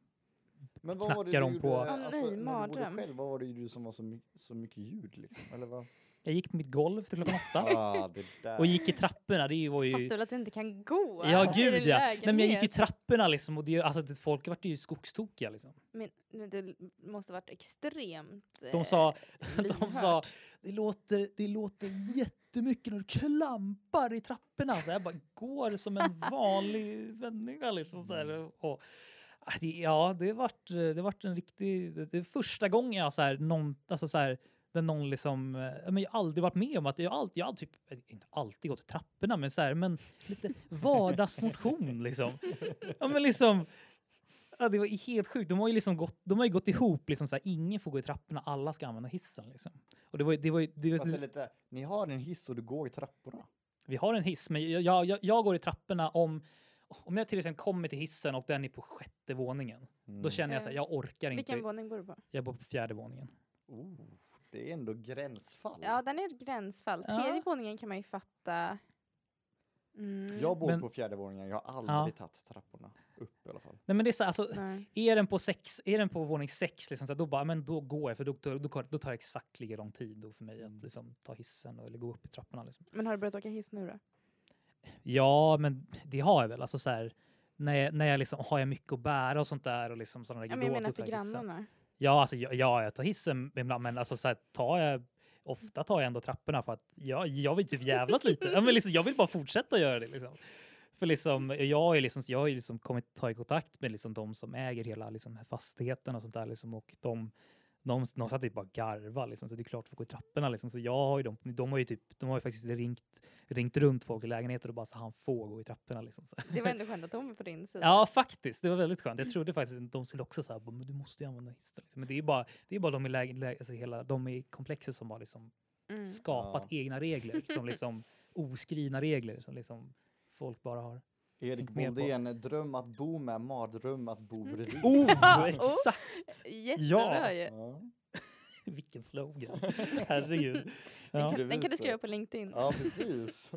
S1: Men vad var det du
S2: knackar de
S1: gjorde,
S2: på-
S1: alltså,
S3: Åh, nej,
S1: när du bodde
S3: mardröm.
S1: själv? Vad var det du som var så, my- så mycket ljud liksom? Eller vad?
S2: Jag gick på mitt golv till klockan åtta
S1: Ah, det där.
S2: och gick i trapporna. Det var
S3: Fattar
S2: ju...
S3: väl att du inte kan gå? Alltså,
S2: Ja,
S3: i
S2: gud
S3: din
S2: ja. Nej, men jag gick i
S3: lägenhet?
S2: trapporna liksom och det, alltså, det, folk vart ju skogstokiga liksom.
S3: Men men det måste varit extremt eh,
S2: De sa, de
S3: lyhört.
S2: sa det, låter, det låter jättemycket när du klampar i trapporna. Så jag bara går som en vanlig människa liksom. Så här, och, ah, det, ja, det vart, det vart en riktig... Det, det är första gången jag så här, någon, alltså så här, där någon liksom, eh, ja, men jag har aldrig varit med om att jag har alltid, jag har alltid typ, inte alltid gått i trapporna, men så här, men lite vardagsmotion liksom. Ja, men liksom ja, det var helt sjukt. De har ju liksom gått, de har ju gått ihop liksom så här, ingen får gå i trapporna, alla ska använda hissen liksom. Och det var ju- det var ju, det var,
S1: Fast det är lite, ni har en hiss och du går i trapporna.
S2: vi har en hiss, men jag, jag, jag, jag går i trapporna om om jag till exempel kommer till hissen och den är på sjätte våningen, då
S1: Mm.
S2: känner jag så här, jag orkar
S3: Vilken
S2: inte.
S3: våning bor du på?
S2: Jag bor på fjärde våningen.
S1: Oh, det är ändå gränsfall.
S3: Ja, den är ett gränsfall.
S2: Ja.
S3: Tredje våningen kan man ju fatta. Mm.
S1: Jag bor
S2: Men-
S1: på fjärde våningen, jag har aldrig tagit trapporna upp i alla fall.
S2: Nej, men det är så här, alltså,
S3: Nej.
S2: är den på, sex, är den på våning sex, liksom, så här, då, bara, men då går jag, för då, då, då, då tar det exakt lika lång tid då för mig
S1: Mm.
S2: att liksom, ta hissen och, eller gå upp i trapporna. Liksom.
S3: Men har du börjat åka hiss nu då?
S2: Ja, men det har jag väl. Alltså, så här, när jag, när jag liksom, har jag mycket att bära och sånt där. Och liksom, sådana
S3: Ja,
S2: grejer,
S3: men jag
S2: då-
S3: menar
S2: då tar
S3: för
S2: jag hissen.
S3: grannarna.
S2: Ja, alltså, ja, ja, jag tar hissen ibland, men alltså, så här, tar jag, ofta tar jag ändå trapporna för att jag, jag vill typ jävlas lite. Ja, men liksom, jag vill bara fortsätta göra det. Liksom. För liksom, jag, är liksom, jag har ju liksom kommit ta i kontakt med liksom de som äger hela liksom fastigheten och sånt där liksom, och de, de, de satt typ bara och garvade liksom, så det är klart folk går i trapporna liksom. Så jag har ju de, de har ju typ, de har ju faktiskt ringt, ringt runt folk i lägenheter och bara så han får gå i trapporna liksom. Så.
S3: Det var ändå skönt att de är på din sida.
S2: Ja, faktiskt. Det var väldigt skönt. Jag trodde faktiskt att de skulle också säga men du måste ju använda hissen. Liksom. Men det är ju bara, det är bara de i läge, läge, alltså hela, de i komplexet som har liksom
S3: Mm.
S2: skapat egna regler som liksom oskrivna regler som liksom folk bara har.
S1: Erik
S2: Tänk mer på
S1: Boldén, dröm att bo med, mardröm att bo bredvid.
S2: Oh,
S3: Oh.
S2: exakt!
S3: Jättebra ju.
S1: Ja.
S2: Vilken slogan. Herregud.
S1: Ja.
S2: Ja.
S1: Skriv
S3: Den kan du
S1: ut
S3: skriva
S1: det.
S3: på LinkedIn.
S1: ja, precis.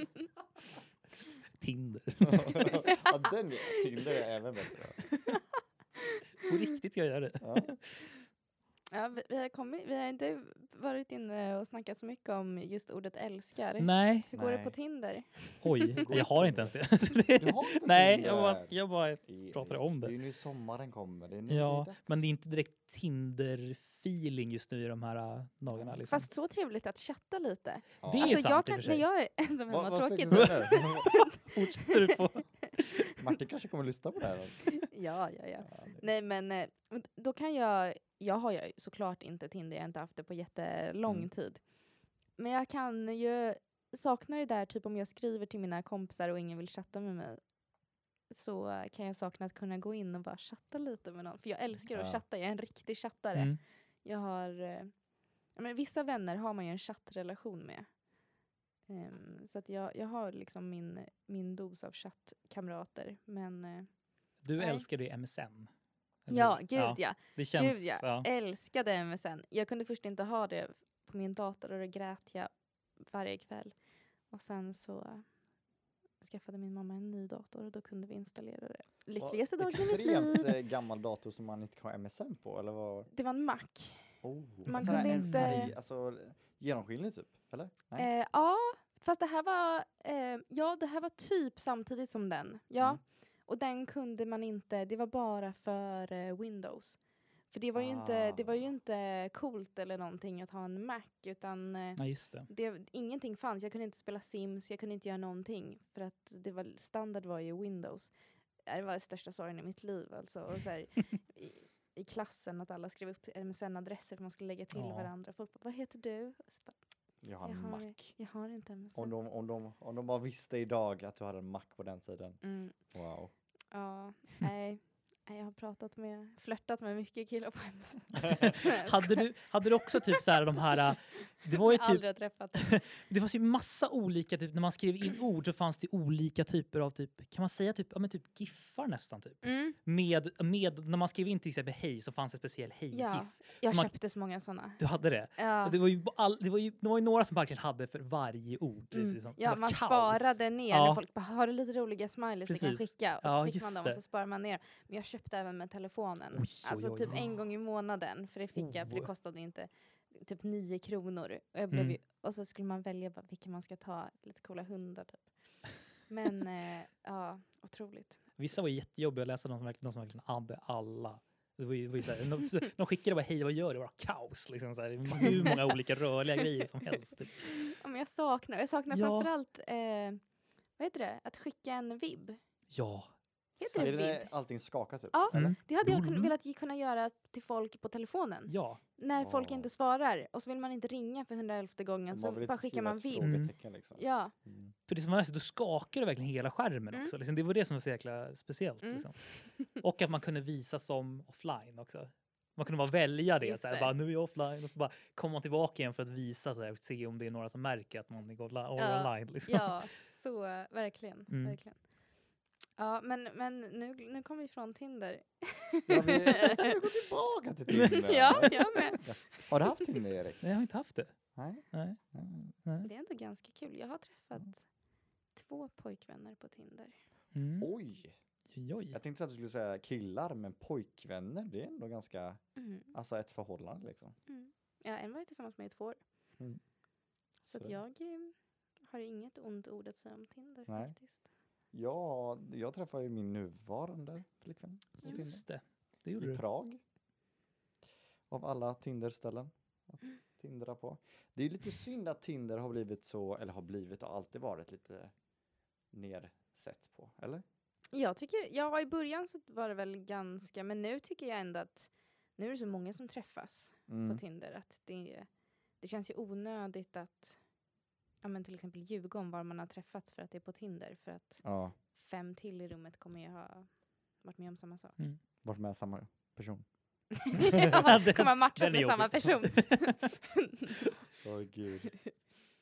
S2: Tinder.
S1: ja, den är- Tinder är även bättre.
S2: På riktigt ska jag göra det.
S1: Ja.
S3: Ja, vi, vi, har kommit, vi har inte varit inne och snackat så mycket om just ordet älskar.
S2: Nej,
S3: Hur går det på
S1: Nej.
S3: Tinder?
S2: oj.
S1: Går
S2: Jag har inte ens det. Så det-
S1: Du har inte
S2: Nej,
S1: Tinder.
S2: jag bara, jag bara
S1: I-
S2: pratar om
S1: Det är
S2: det.
S1: ju nu sommaren kommer. Det är nu
S2: Ja,
S1: det är dags.
S2: men det är inte direkt Tinder-feeling just nu i de här äh, dagarna. Liksom.
S3: Fast så trevligt att chatta lite. Alltså,
S1: Ja.
S2: det är sant i och
S3: jag
S2: för
S3: kan, när
S2: sig.
S3: jag är ensam hemma
S1: Vad-
S3: och
S1: vad
S3: tråkig
S1: tänkte
S3: så...
S1: du säga nu?
S2: Fortsätter du på?
S1: Martin kanske kommer att lyssna på det här.
S3: Ja, ja, ja.
S1: Ja, det-
S3: Nej men eh, då kan jag, jag har ju såklart inte Tinder, jag har inte haft det på jättelång
S1: Mm.
S3: tid. Men jag kan ju sakna det där, typ om jag skriver till mina kompisar och ingen vill chatta med mig. Så eh, kan jag sakna att kunna gå in och bara chatta lite med någon. För jag älskar att
S1: Ja.
S3: chatta, jag är en riktig chattare.
S2: Mm.
S3: Jag har, eh, ja, men vissa vänner har man ju en chattrelation med. Ehm, så att jag, jag har liksom min, min dos av chattkamrater. Men eh,
S2: Du
S3: Nej.
S2: älskar ju MSN. eller
S3: ja,
S2: hur?
S3: gud ja.
S2: Det känns...
S3: Gud, ja.
S2: ja.
S3: älskade MSN. Jag kunde först inte ha det på min dator och då grät jag varje kväll. Och sen så skaffade min mamma en ny dator och då kunde vi installera det. Lyckligaste
S1: Vad
S3: dagen i mitt liv.
S1: Extremt eh, gammal dator som man inte kan ha MSN på, eller vad?
S3: Det var en Mac.
S1: Oh.
S3: Man
S1: Sån här
S3: kunde
S1: en
S3: inte-
S1: Färg, alltså, genomskinlig typ, eller? Nej.
S3: Eh, ja, fast det här var, eh, ja, det här var typ samtidigt som den. Ja.
S1: Mm.
S3: Och den kunde man inte, det var bara för eh, Windows. För det var, ju inte, det var ju
S1: Ah.
S3: inte coolt eller någonting att ha en Mac utan eh,
S2: ja, just det.
S3: det, ingenting fanns. Jag kunde inte spela Sims, jag kunde inte göra någonting. För att det var, standard var ju Windows. Äh, Det var den största sorgen i mitt liv. Alltså. Och så här, i, I klassen att alla skrev upp MSN-adresser för man skulle lägga till
S2: Ja.
S3: varandra. Folk bara, vad heter du? Och så bara,
S1: Jag har
S3: jag,
S1: en
S3: har,
S1: Mac.
S3: jag har inte MSN.
S1: Om de, om, de, om de bara visste idag att du hade en Mac på den tiden.
S3: Mm,
S1: Wow.
S3: ja, nej. Nej, Jag har pratat med, flörtat med mycket killar på MSN.
S2: Hade du, hade du också typ så här de här... äh, Det var ju typ,
S3: aldrig har träffat.
S2: det var ju massa olika, typ, när man skrev in ord så fanns det olika typer av typ, kan man säga typ, ja men typ giffar nästan typ.
S3: Mm,
S2: Med, med, när man skrev in till exempel hej så fanns det en speciell hej-giff.
S3: ja, jag
S2: Så man-
S3: köpte så många sådana.
S2: Du hade det?
S3: Ja.
S2: Och Det, var ju all, det, var ju, det var ju några som verkligen hade för varje ord. Det är
S3: Mm.
S2: liksom- det
S3: Ja,
S2: var
S3: man
S2: kaos.
S3: sparade ner
S2: Ja.
S3: när folk bara har du lite roliga smileys du kan
S2: Precis.
S3: skicka? Och
S2: Ja,
S3: så fick
S2: just
S3: man dem
S2: det.
S3: och så sparar man ner. Men jag köpte även med telefonen.
S2: Oj, oj,
S3: alltså
S2: oj,
S3: typ
S2: oj.
S3: en gång i månaden för det fick jag för det
S2: Oh.
S3: kostade inte typ nio kronor. Och, jag blev
S2: Mm.
S3: ju, och så skulle man välja bara, vilka man ska ta, lite coola hundar typ. Men eh, ja, otroligt.
S2: Vissa var ju jättejobbiga att läsa, de som verkligen, de som verkligen hade alla. Det var ju, det var ju så här, de, så- de skickade bara hej, vad gör du? Det var kaos. Liksom, så här, hur många olika rörliga grejer som helst. Typ.
S3: Ja, men jag saknar, jag saknar
S2: Ja.
S3: framförallt eh, vad heter det? Att skicka en vibb.
S2: Ja,
S3: Heter det typ
S1: Är
S3: vibb?
S1: det allting skakar typ?
S3: Ja,
S2: Mm.
S3: det hade jag kun-
S2: Mm.
S3: velat ju kunna göra till folk på telefonen.
S2: ja.
S3: När folk
S1: Ja.
S3: inte svarar och så vill man inte ringa för hundraelfte gången så
S1: vill inte
S3: bara skickar
S1: skriva
S3: man
S1: ett
S3: vibb.
S2: Mm.
S1: Frågetecken, liksom.
S3: Ja,
S1: Mm.
S2: För det som var nice, då skakade det verkligen hela skärmen
S3: Mm.
S2: också. Liksom, det var det som var så jäkla speciellt.
S3: Mm.
S2: Liksom. Och att man kunde visa som offline också. Man kunde bara välja det.
S3: Just
S2: Så här,
S3: det.
S2: Bara, nu är jag offline. Och så bara kommer man tillbaka igen för att visa så här, och se om det är några som märker att man är gola-
S3: Ja,
S2: online. Liksom.
S3: ja så eh, verkligen.
S2: Mm.
S3: verkligen. Ja, men, men nu, nu kom vi ifrån Tinder.
S1: Ja, vi kan vi gå tillbaka till Tinder.
S3: ja, jag med.
S1: Har du haft Tinder Erik?
S2: Nej, jag har inte haft det.
S1: Nej.
S2: Nej.
S1: Mm.
S2: Nej.
S3: Det är ändå ganska kul. Jag har träffat två pojkvänner på Tinder.
S2: Mm.
S1: Oj!
S2: Oj, oj.
S1: Jag tänkte att du skulle säga killar, men pojkvänner, det är ändå ganska,
S3: Mm.
S1: alltså ett förhållande liksom.
S3: Ja, en var jag tillsammans med i två år.
S1: Mm.
S3: Så att
S1: Så.
S3: jag eh, har inget ont ord att säga om Tinder
S1: Nej.
S3: faktiskt.
S1: Ja, jag träffade ju min nuvarande flickvän på Tinder.
S2: Just det. Det gjorde
S1: i
S2: du.
S1: Prag. Av alla Tinderställen att tindra på. Det är lite synd att Tinder har blivit så, eller har blivit och alltid varit lite sätt på, eller?
S3: Jag tycker, ja i början så var det väl ganska, men nu tycker jag ändå att nu är det så många som träffas
S1: Mm.
S3: på Tinder att det, det känns ju onödigt att ja, men till exempel ljuga om var man har träffats för att det är på Tinder för att
S1: Ja,
S3: fem till i rummet kommer ju ha varit med om samma sak.
S1: varit med samma person.
S3: Kommer- kommer matcha
S2: den är
S3: med samma person.
S1: Åh gud.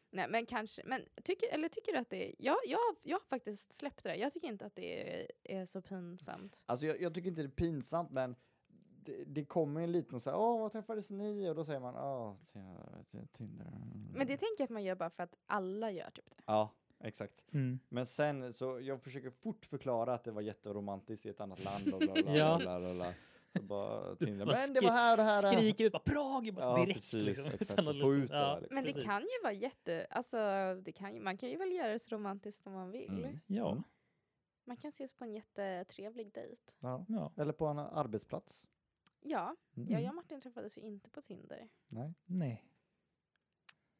S3: Nej men kanske, men tycker, eller tycker du att det är, jag, jag, jag har faktiskt släppt det där. jag tycker inte att det är, är så pinsamt.
S1: Alltså jag, jag tycker inte det är pinsamt, men det, det kommer en liten så här, åh, vad träffades ni? Och då säger man, åh, t- Tinder.
S3: Men det tänker jag att man gör bara för att alla gör typ det.
S1: Ja, exakt.
S2: Mm.
S1: Men sen så, jag försöker fort förklara att det var jätteromantiskt i ett annat land och bla bla bla.
S2: Ja.
S1: bla, bla, bla. Så bara Tinder.
S2: Bara
S1: Men det var här och det här. och det här."
S2: Skrik ut bara Prag bara
S1: Ja,
S2: direkt.
S1: precis,
S2: liksom.
S1: exakt.
S2: Utan att
S1: Få ut
S2: lyssna.
S1: det där, liksom.
S3: Men
S2: precis.
S3: det kan ju vara jätte, alltså det kan ju, man kan ju väl göra det så romantiskt om man vill.
S1: Mm.
S2: Ja,
S3: Man kan ses på en jättetrevlig dejt.
S1: Ja.
S2: ja.
S1: Eller på en arbetsplats.
S3: Ja,
S1: Mm.
S3: jag, jag och Martin träffades ju inte på Tinder.
S1: Nej.
S2: Nej.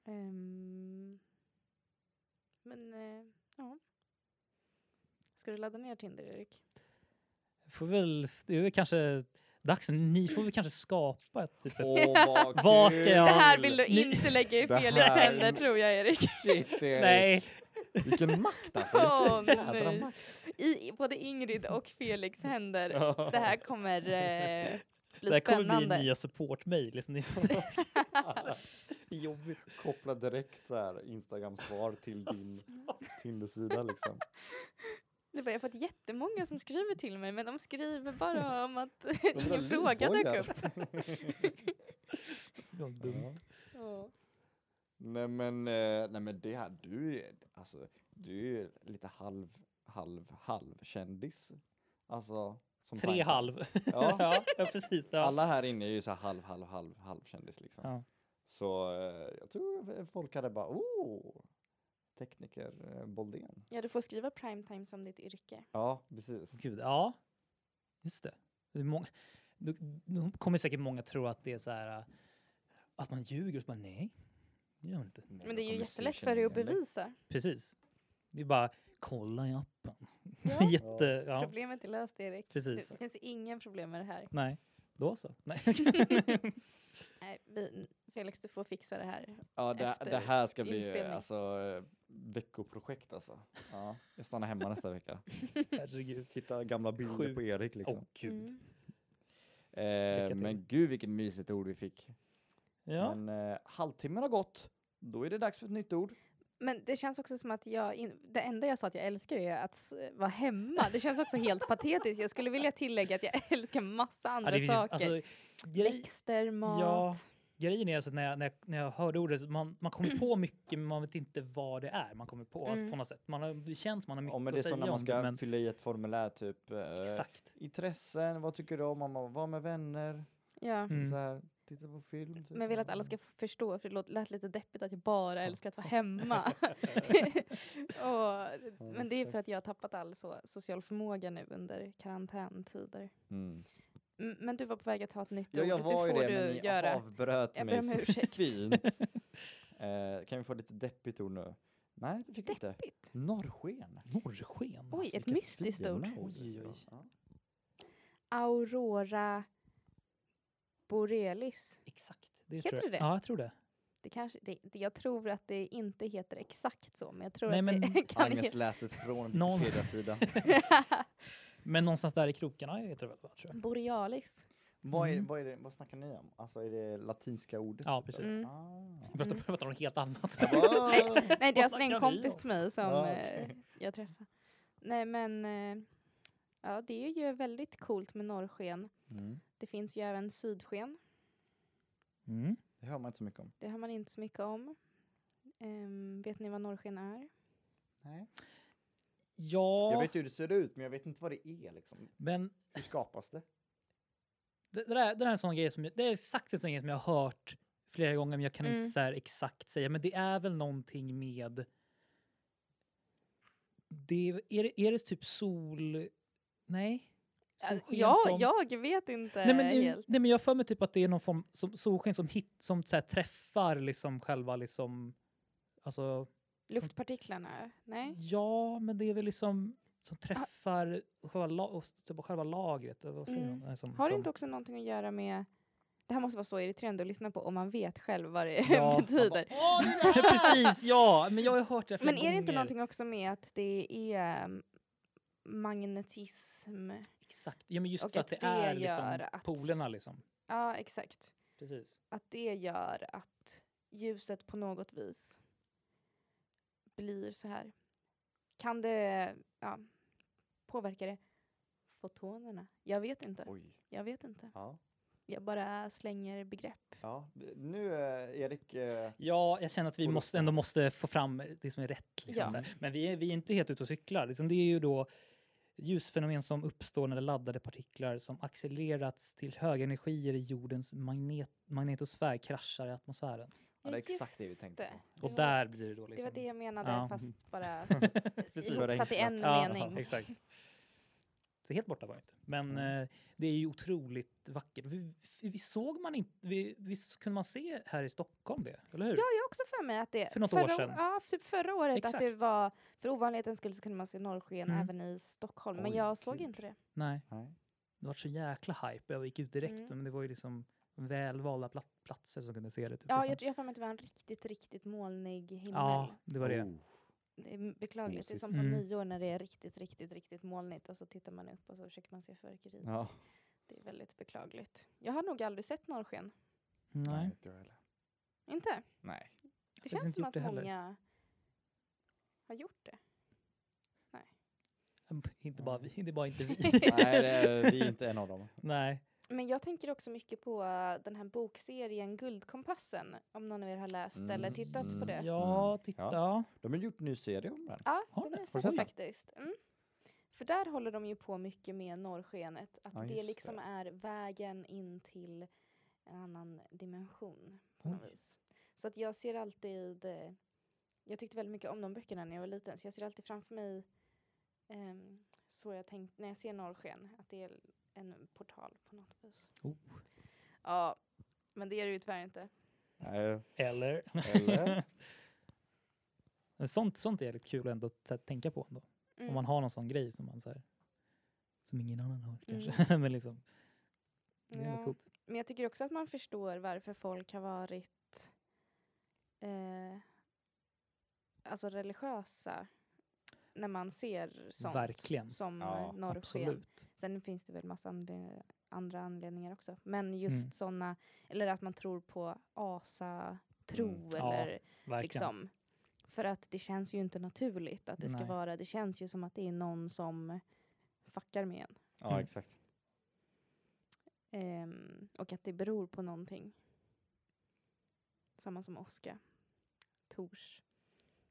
S3: Ehm, men eh, ja. Ska du ladda ner Tinder Erik?
S2: Får väl, det är väl kanske dags. Ni får väl kanske skapa ett typ ett...
S1: Åh, vad
S2: Vad ska
S1: kul!
S2: jag-
S3: det här vill du
S2: Ni-
S3: inte lägga i
S1: Det
S3: Felix
S1: här-
S3: händer tror jag Erik.
S1: Shit, Erik.
S2: Nej,
S1: Vilken makt alltså.
S3: Åh,
S1: Vilken jädra
S3: nej.
S1: makt.
S3: I, i både Ingrid och Felix händer.
S1: Ja.
S3: Det här kommer eh, bli
S2: det här kommer
S3: spännande.
S2: bli nya support-mejl. Liksom. Ni- Jobbigt.
S1: Koppla direkt så här Instagram-svar till din Tinder-sida liksom.
S3: Det var, jag har fått jättemånga som skriver till mig men de skriver bara om att
S1: Undrar
S3: ingen fråga dök
S1: livbojar.
S3: upp.
S2: Ja, dumt.
S1: Ja.
S3: Ja.
S1: Nej men, eh, nej men det här, du är, alltså, du är lite halv, halv, halv kändis. Alltså. Som
S2: Tre
S1: Frank.
S2: halv.
S1: Ja.
S2: Ja, ja precis. Ja.
S1: Alla här inne är ju så här halv, halv, halv, halv kändis liksom.
S2: Ja.
S1: Så eh, jag tror folk hade bara, oh, tekniker eh, Boldén.
S3: ja, du får skriva primetime som ditt yrke.
S1: Ja, precis.
S2: Gud, ja. Just det. det är många, nu, nu kommer säkert många tro att det är så här äh, att man ljuger. Och så bara, nej, det gör man inte.
S1: Nej,
S3: Men
S1: då
S3: det är ju
S1: kommer
S3: jättelätt
S1: Steve
S3: för dig att
S1: känna igen dig.
S3: bevisa.
S2: Precis. Det är bara kolla i appen.
S3: Ja.
S2: Jätte, ja.
S3: Problemet är löst Erik.
S2: Precis.
S3: Det finns inga problem med det här.
S2: Nej, då så. Nej.
S3: Nej, vi, Felix du får fixa det här.
S1: Ja, det, det
S3: efter
S1: här ska bli eh,
S3: inspelning.
S1: alltså, eh, veckoprojekt alltså. Ja, jag stannar hemma nästa vecka.
S2: Herregud.
S1: Hitta gamla bilder
S2: Sjukt.
S1: på Erik liksom.
S2: Åh gud.
S3: Mm.
S1: Eh,
S2: till.
S1: men gud vilket mysigt ord vi fick.
S2: Ja.
S1: Men eh, halvtimmen har gått. Då är det dags för ett nytt ord.
S3: Men det känns också som att jag, in, det enda jag sa att jag älskar är att s- vara hemma. Det känns också helt patetiskt. Jag skulle vilja tillägga att jag älskar massa
S2: Ja, det
S3: andra
S2: finns ju-
S3: saker.
S2: alltså, grej,
S3: Växter, mat.
S2: Ja. grejen är alltså att när jag, när jag, när jag hörde ordet, man, man kommer på mycket men man vet inte vad det är man kommer på. Alltså,
S3: Mm.
S2: på något sätt. Man har, det känns man har mycket
S1: Ja, men det är
S2: att säga
S1: som när man
S2: om
S1: ska
S2: det, men
S1: fylla i ett formulär typ. Eh,
S2: exakt.
S1: Intressen, vad tycker du om? Man bara, Vara med vänner, typ
S3: Ja.
S2: Mm.
S1: så här, titta på film. Typ.
S3: Men jag vill att alla ska f- förstå, för det låt- lät lite deppigt att jag bara älskar att vara hemma. och, men det är för att jag har tappat all så, social förmåga nu under karantäntider.
S1: Mm.
S3: Mm, Men du var på väg att ta ett nytt
S1: Ja, jag
S3: ord.
S1: var
S3: det
S1: ju
S3: får
S1: det,
S3: du
S1: men ni
S3: göra.
S1: avbröt
S3: Jag ber
S1: mig
S3: om
S1: så
S3: ursäkt.
S1: fint. eh, kan vi få lite deppigt ord nu? Nej, det fick vi inte.
S3: Deppigt.
S1: Norrsken.
S2: Norrsken.
S3: Oj,
S1: Alltså,
S3: ett
S1: vilka
S3: mystiskt
S1: fina
S3: ord.
S1: ord.
S2: Oj, oj.
S1: Ja.
S3: Aurora borealis.
S2: Exakt. Det
S3: Heter
S2: tror jag.
S3: det det?
S2: Ja, jag tror det.
S3: Det kanske, det, det, jag tror att det inte heter exakt så, men jag tror
S2: Nej,
S3: att det
S2: men
S3: kan
S1: Agnes
S3: heta...
S1: läser från
S2: Någon-
S1: Wikipedia-sidan.
S2: Men någonstans där i krokarna heter det väl? va, Tror jag.
S3: Borealis.
S1: Vad, är,
S2: Mm.
S1: vad, är det, vad snackar ni om? Alltså är det latinska ordet?
S2: Ja,
S1: typ,
S2: precis.
S1: eller?
S3: Mm.
S1: Ah.
S2: Jag pratar, pratar om något helt annat.
S1: Wow.
S3: Nej, det är
S2: Vad
S3: alltså en
S2: snackar vi
S3: kompis
S2: om?
S3: till mig som
S1: Ja,
S3: eh, jag träffade. Nej, men eh, ja, det är ju väldigt coolt med norrsken.
S1: Mm.
S3: Det finns ju även sydsken.
S2: Mm.
S1: Det hör man inte så mycket om.
S3: Det hör man inte så mycket om. Ehm, vet ni vad norrsken är?
S1: Nej. Jag
S2: Ja,
S1: vet hur det ser ut, men jag vet inte vad det är. Liksom.
S2: men
S1: Hur skapas det?
S2: det, det, där, det där är en sån grej som jag- det är exakt en sån grej som jag har hört flera gånger, men jag kan
S3: Mm.
S2: inte så här exakt säga. Men det är väl någonting med. Det är, det, är det typ sol? Nej. Solsken
S3: ja,
S2: som-
S3: jag vet inte
S2: Nej men, nej,
S3: helt.
S2: nej men jag har för mig typ att det är någon form som solsken som, hit, som så här träffar liksom själva liksom alltså
S3: Luftpartiklarna? Nej?
S2: Ja, men det är väl liksom... Som träffar själva, la- och typ själva lagret. eller Vad säger
S3: Mm.
S2: man? Eh, Som,
S3: Har det
S2: som,
S3: inte också någonting att göra med... Det här måste vara så irriterande att lyssna på om man vet själv vad det
S2: Ja.
S3: betyder.
S2: Precis, ja! Men jag har hört det flera
S3: Men är det inte
S2: gånger.
S3: någonting också med att det är ehm, magnetism?
S2: Exakt. Ja, men just
S3: Och
S2: för att
S3: att
S2: det,
S3: det
S2: är
S3: gör
S2: liksom
S3: att-
S2: polerna liksom.
S3: Ja, exakt.
S2: Precis.
S3: Att det gör att ljuset på något vis blir så här. Kan det... Ja, påverkar det fotonerna? Jag vet inte.
S1: Oj.
S3: Jag vet inte.
S1: Ja.
S3: Jag bara slänger begrepp.
S1: ja. Nu eh, Erik, eh,
S2: Ja, jag känner att vi
S1: Och då-
S2: måste, ändå måste få fram det som är rätt. Liksom,
S3: Ja.
S2: så här. Men vi är, vi är inte helt ute och cyklar. Liksom, det är ju då ljusfenomen som uppstår när laddade partiklar som accelererats till höga energier i jordens magnet, magnetosfär kraschar i atmosfären.
S1: ja, det är exakt det vi tänkte på.
S2: Och där blir det då
S3: Det
S2: liksom...
S3: var det jag menade,
S2: Ja.
S3: fast bara s-
S2: Precis.
S3: ihopsatt i en
S1: Förenklat.
S3: mening.
S2: exakt. Så helt borta var jag inte. Men
S1: Mm.
S2: eh, det är ju otroligt vackert. Vi, vi, vi såg man inte, vi, visst kunde man se här i Stockholm det? Eller hur?
S3: Ja, jag har också för mig att det...
S2: För något
S3: förra,
S2: år sedan.
S3: Ja, typ förra året. Att det
S2: Exakt.
S3: var, för ovanlighetens skull så kunde man se norrsken
S2: Mm.
S3: även i Stockholm, men
S1: Oj,
S3: jag såg
S1: kul.
S3: inte det.
S2: Nej.
S1: Nej.
S2: Det var så jäkla hype. Jag gick ut direkt,
S3: Mm.
S2: men det var ju liksom välvalda pla- platser som kunde se det. Typ,
S3: Ja,
S2: liksom.
S3: jag tror jag har för mig att det var en riktigt, riktigt molnig himmel.
S2: ja, det var det.
S1: Oh.
S3: Det är beklagligt. Det är
S1: Mysigt.
S3: som på
S2: Mm.
S3: nyår när det är riktigt, riktigt, riktigt molnigt och så tittar man upp och så försöker man se fyrverkerier.
S1: Ja.
S3: Det är väldigt beklagligt. Jag har nog aldrig sett norrsken.
S2: Nej.
S1: inte jag heller.
S3: Inte?
S1: Nej.
S3: Det
S2: Jag har
S3: känns
S2: inte
S3: som
S2: gjort
S3: att
S2: det heller.
S3: många har gjort det.
S2: Inte bara vi. Det är bara inte vi.
S1: Nej, det är, vi är inte en av dem.
S2: Nej.
S3: Men jag tänker också mycket på eh, den här bokserien Guldkompassen, om någon av er har läst eller
S1: Mm.
S3: tittat på det. Ja,
S2: Ja, titta. Mm. Ja.
S1: De har gjort en ny serie om den.
S2: Har ni?
S3: den har jag
S1: Har du
S3: sett
S1: sett den?
S3: faktiskt. Mm. För där håller de ju på mycket med norrskenet, att
S1: Ja,
S3: det
S1: just
S3: liksom
S1: det.
S3: är vägen in till en annan dimension på något
S2: Oj.
S3: vis. Så att jag ser alltid, eh, jag tyckte väldigt mycket om de böckerna när jag var liten, så jag ser alltid framför mig ehm, så jag tänkt när jag ser norrsken, att det är en portal på något vis.
S2: Oh.
S3: Ja, men det är det ju tyvärr inte.
S1: Nej,
S2: Eller?
S1: Eller?
S2: Men sånt, sånt är lite kul ändå att så här, tänka på. Ändå.
S3: Mm.
S2: Om man har någon sån grej som man så här, som ingen annan har kanske. Men liksom, det är ändå
S3: Mm. Ja.
S2: coolt.
S3: Men jag tycker också att man förstår varför folk har varit eh, alltså religiösa när man ser sånt
S2: Verkligen.
S3: som
S1: Ja,
S3: ja, norrsken.
S2: Absolut.
S3: Sen finns det väl massa anle- andra anledningar också. Men just
S2: Mm.
S3: såna, eller att man tror på asatro
S1: Mm.
S2: Ja,
S3: eller
S2: Verkligen.
S3: liksom. För att det känns ju inte naturligt att det ska
S2: Nej.
S3: vara, det känns ju som att det är någon som fuckar med en.
S1: Ja,
S2: Mm.
S1: exakt.
S3: Ehm, och att det beror på någonting. Samma som åska. Tors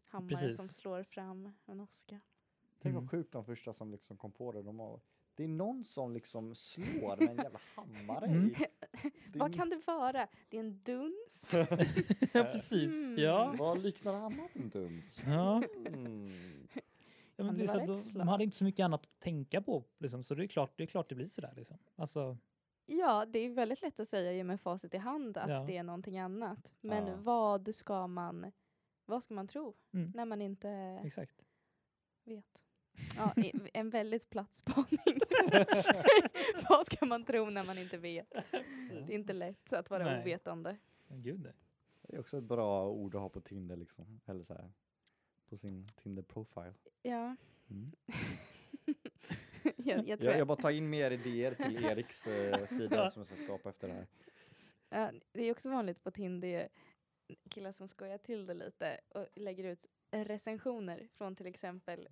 S3: hammare som
S2: Precis.
S3: slår fram en åska.
S1: Tänk
S2: Mm.
S1: vad sjukt de första som liksom kom på det. De har, det är någon som liksom slår med en jävla hammare
S2: Mm.
S1: i. Det är
S3: Vad kan det vara? Det är en duns.
S2: ja, precis.
S3: Mm.
S2: Ja.
S1: mycket- Vad liknar annat än duns?
S2: ja.
S1: Mm.
S2: Ja, men
S3: Kan
S2: det är
S3: det
S2: så
S3: vara
S2: att de,
S3: ett slag?
S2: de hade inte så mycket annat att tänka på, liksom, så det är klart det, är klart det blir sådär. Liksom. Alltså,
S3: ja, det är väldigt lätt att säga ju med facit i hand att
S2: Ja.
S3: det är någonting annat. Men
S1: Ja.
S3: vad ska man vad ska man tro
S2: Mm.
S3: när man inte
S2: exakt.
S3: vet? Ja, i- en väldigt platt spaning. vad ska man tro när man inte vet? Det är inte lätt att vara
S2: Nej.
S3: ovetande.
S2: Men Gud, nej.
S1: Det är också ett bra ord att ha på Tinder liksom. Eller så här, på sin Tinder profile.
S3: Ja.
S1: Mm.
S3: jag, jag tror
S1: Jag,
S3: jag, Alltså.
S1: jag bara tar in mer idéer till Eriks eh, sida som jag ska skapa efter det här.
S3: ja, det är också vanligt på Tinder ju killar som skojar till det lite och lägger ut recensioner från till exempel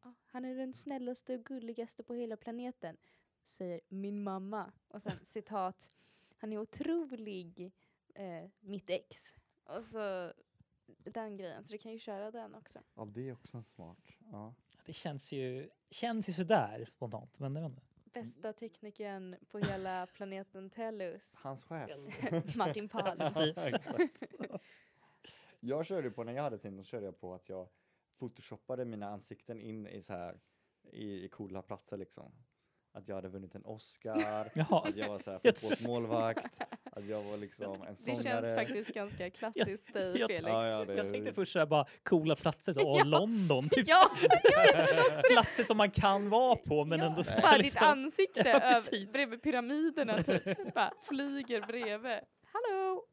S3: "Ah, Han är den snällaste och gulligaste på hela planeten, säger min mamma. Och sen citat Han är otrolig, eh, mitt ex. Och så den grejen, så du kan ju köra den också.
S1: Ja, det är också en smart. Ja.
S2: Det känns ju, känns ju sådär spontant. Men jag vet inte.
S1: Mm.
S3: Bästa teknikern på hela planeten Tellus,
S1: Hans chef.
S3: Martin Pals.
S1: Exakt. jag körde på, när jag hade Tinder, så körde jag på att jag photoshoppade mina ansikten in i så här, i, i coola platser liksom. Att jag hade vunnit en Oscar,
S2: Jaha.
S1: att jag var så här
S2: Jag
S1: fotbollsmålvakt, Att jag var liksom en
S3: Det
S1: sångare.
S3: känns faktiskt ganska klassiskt dig
S2: jag-
S3: Felix.
S1: Ja, ja, det-
S2: Jag tänkte först såhär bara coola platser, så, åh
S3: Ja.
S2: London, typ
S3: Ja,
S2: platser som man kan vara på men
S3: ja.
S2: ändå så
S3: Bara
S2: här,
S3: ditt
S2: liksom,
S3: ansikte
S2: Ja,
S3: över,
S2: precis.
S3: bredvid pyramiderna typ. Bara flyger bredvid. Hallå!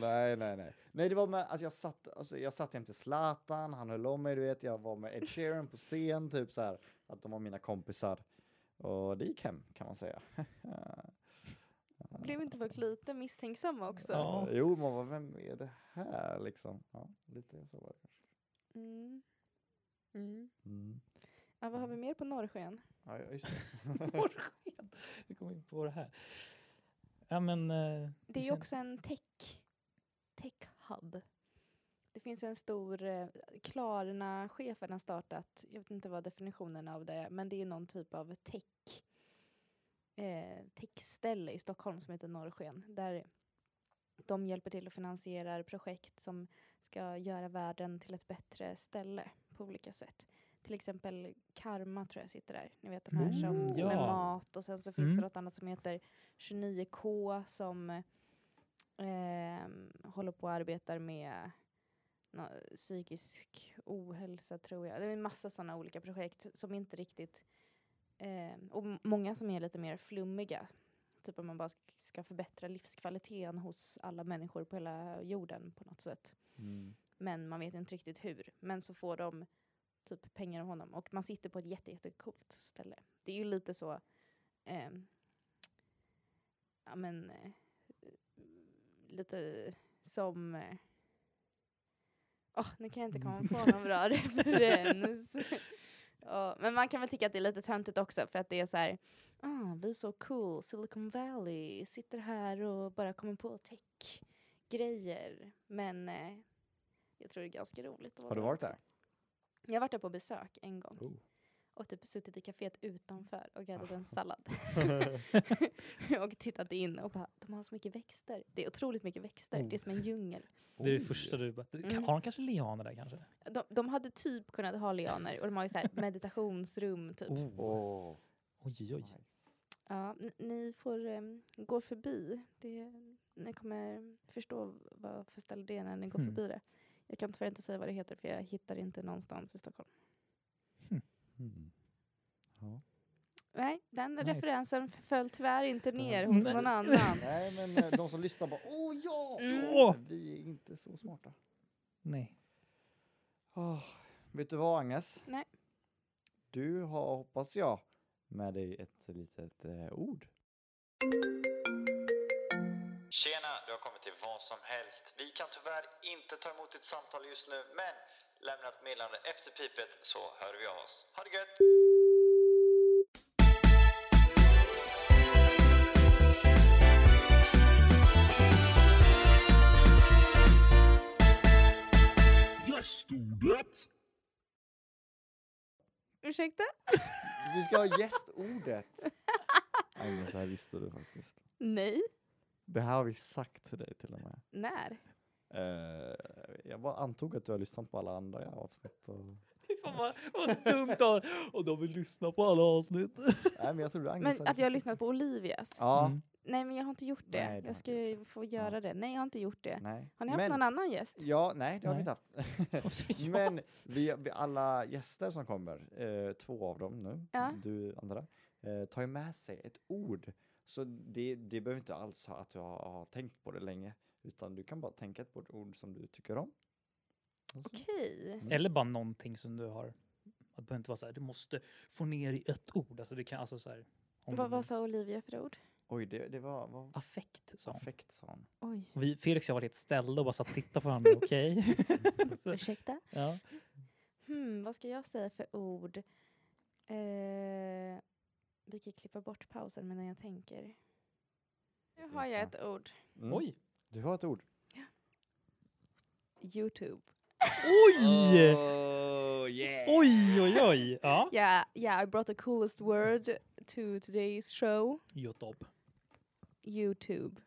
S1: Nej, nej, nej. Nej, det var med att jag satt, alltså, jag satt jämte Zlatan, han höll om mig, du vet. Jag var med Ed Sheeran på scen, typ så här. Att de var mina kompisar. Och det gick hem, kan man säga.
S3: Blev inte folk lite misstänksamma också?
S2: Ja.
S1: Eh, Jo, man var vem är det här liksom? Ja, lite så var det.
S3: Mm. Mm.
S1: Mm.
S3: Ja, vad har vi mer på norrsken?
S1: Ja, ja, just det.
S2: norrsken. Vi kommer in på det här. Ja men... eh,
S3: Det är ju
S2: känns-
S3: också en tech, tech hub. Det finns en stor, eh, Klarna-chefen har startat, jag vet inte vad definitionen av det är, men det är någon typ av tech, eh, techställe i Stockholm som heter Norrsken, där de hjälper till och finansierar projekt som ska göra världen till ett bättre ställe på olika sätt. Till exempel Karma tror jag sitter där, ni vet de här som
S2: Mm,
S3: med
S2: ja.
S3: mat och sen så finns
S2: Mm.
S3: det något annat som heter 29K som ehm, håller på och arbetar med nå, psykisk ohälsa tror jag. Det är en massa sådana olika projekt som inte riktigt, ehm, och m- många som är lite mer flummiga. Typ om man bara sk- ska förbättra livskvaliteten hos alla människor på hela jorden på något sätt.
S1: Mm.
S3: Men man vet inte riktigt hur. Men så får de typ pengar av honom och man sitter på ett jätte, jättecoolt ställe. Det är ju lite så, ehm, ja men, eh, lite som, eh, åh, nu kan jag inte komma på någon bra referens. Ja, men man kan väl tycka att det är lite töntigt också för att det är så här, ah, vi är så cool, Silicon Valley, sitter här och bara kommer på tech-grejer. Men eh, jag tror det är ganska roligt. att
S1: Har du
S3: vara
S1: varit
S3: också.
S1: där?
S3: Jag har varit där på besök en gång
S1: Oh.
S3: och typ suttit i kaféet utanför och ätit
S1: Ah.
S3: en sallad. och tittat in och bara, de har så mycket växter. Det är otroligt mycket växter, det är som en
S1: Oh.
S3: djungel.
S2: Det är det
S1: Oj.
S2: första du bara...
S3: Mm.
S2: Har de kanske lianer där kanske?
S3: De, de hade typ kunnat ha lianer och de har ju så här meditationsrum typ.
S2: Oh.
S1: Åh,
S2: Oj, oj.
S1: nice.
S3: Ja, n- ni får em, gå förbi. Det, ni kommer förstå vad för ställe det är när ni går
S2: Hmm.
S3: förbi det. Jag kan tyvärr inte säga vad det heter för jag hittar det inte någonstans i Stockholm.
S1: Mm. Ja.
S3: Nej, den
S2: Nice.
S3: referensen föll tyvärr inte ner
S1: Ja.
S3: hos
S2: Nej.
S3: någon annan.
S1: Nej, men eh, de som lyssnar bara åh ja!
S3: Mm.
S1: ja, Vi är inte så smarta.
S2: Nej.
S1: Åh, vet du vad Agnes?
S3: Nej.
S1: Du har, hoppas jag, med dig ett litet eh, ord. Tjena, du har kommit till vad som helst. Vi kan tyvärr inte ta emot ditt samtal just nu, men lämna ett meddelande efter pipet så hör vi av oss. Ha det gött!
S3: Ursäkta?
S1: Vi ska ha gästordet. Agnes, det här visste du faktiskt.
S3: Nej.
S1: Det här har vi sagt till dig till och med.
S3: När?
S1: Eh, jag bara antog att du har lyssnat på alla andra avsnitt. Och...
S2: Fan vad, vad dumt av Och de vill lyssna på alla avsnitt.
S1: Nej, men jag trodde Agnes
S3: Men
S1: hade
S3: att jag har
S1: försökt.
S3: lyssnat på Olivias?
S1: Ja,
S2: Mm.
S3: Nej men jag har inte gjort det.
S1: Nej, det har
S3: jag
S1: inte
S3: ska
S1: gjort
S3: ju få göra det. Nej jag har inte gjort det.
S1: nej.
S3: Har ni haft
S1: men,
S3: någon annan gäst?
S1: Ja, nej det har vi
S2: Nej.
S1: inte haft. men vi, vi, alla gäster som kommer, eh, två av dem nu,
S3: Ja.
S1: du andra, eh, tar ju med sig ett ord. Så det, det behöver inte alls ha att du har, har tänkt på det länge, utan du kan bara tänka ett bort ord som du tycker om. Och så-
S3: Okej.
S2: Eller bara någonting som du har... Det behöver inte vara så här, du måste få ner i ett ord. Alltså det kan, alltså så här, om
S3: Vad
S2: du-
S3: vad sa Olivia för ord?
S1: Oj, det, det var... Vad,
S2: Affekt, sa hon.
S1: affekt sa han.
S3: Oj.
S2: Och Vi, Felix och jag var i ett ställe och bara satt och tittade på varandra. Okej? Så-
S3: Ursäkta?
S2: ja.
S3: Hmm, vad ska jag säga för ord? Eh, vi kan klippa bort pausen medan jag tänker. Nu har jag ett ord.
S1: Mm.
S2: Oj!
S1: Du har ett ord.
S3: Youtube.
S2: Oj!
S1: Oh, yeah.
S2: Oj, oj, oj! Ja.
S3: Yeah, yeah, I brought the coolest word to today's show.
S2: Youtube.
S3: Youtube.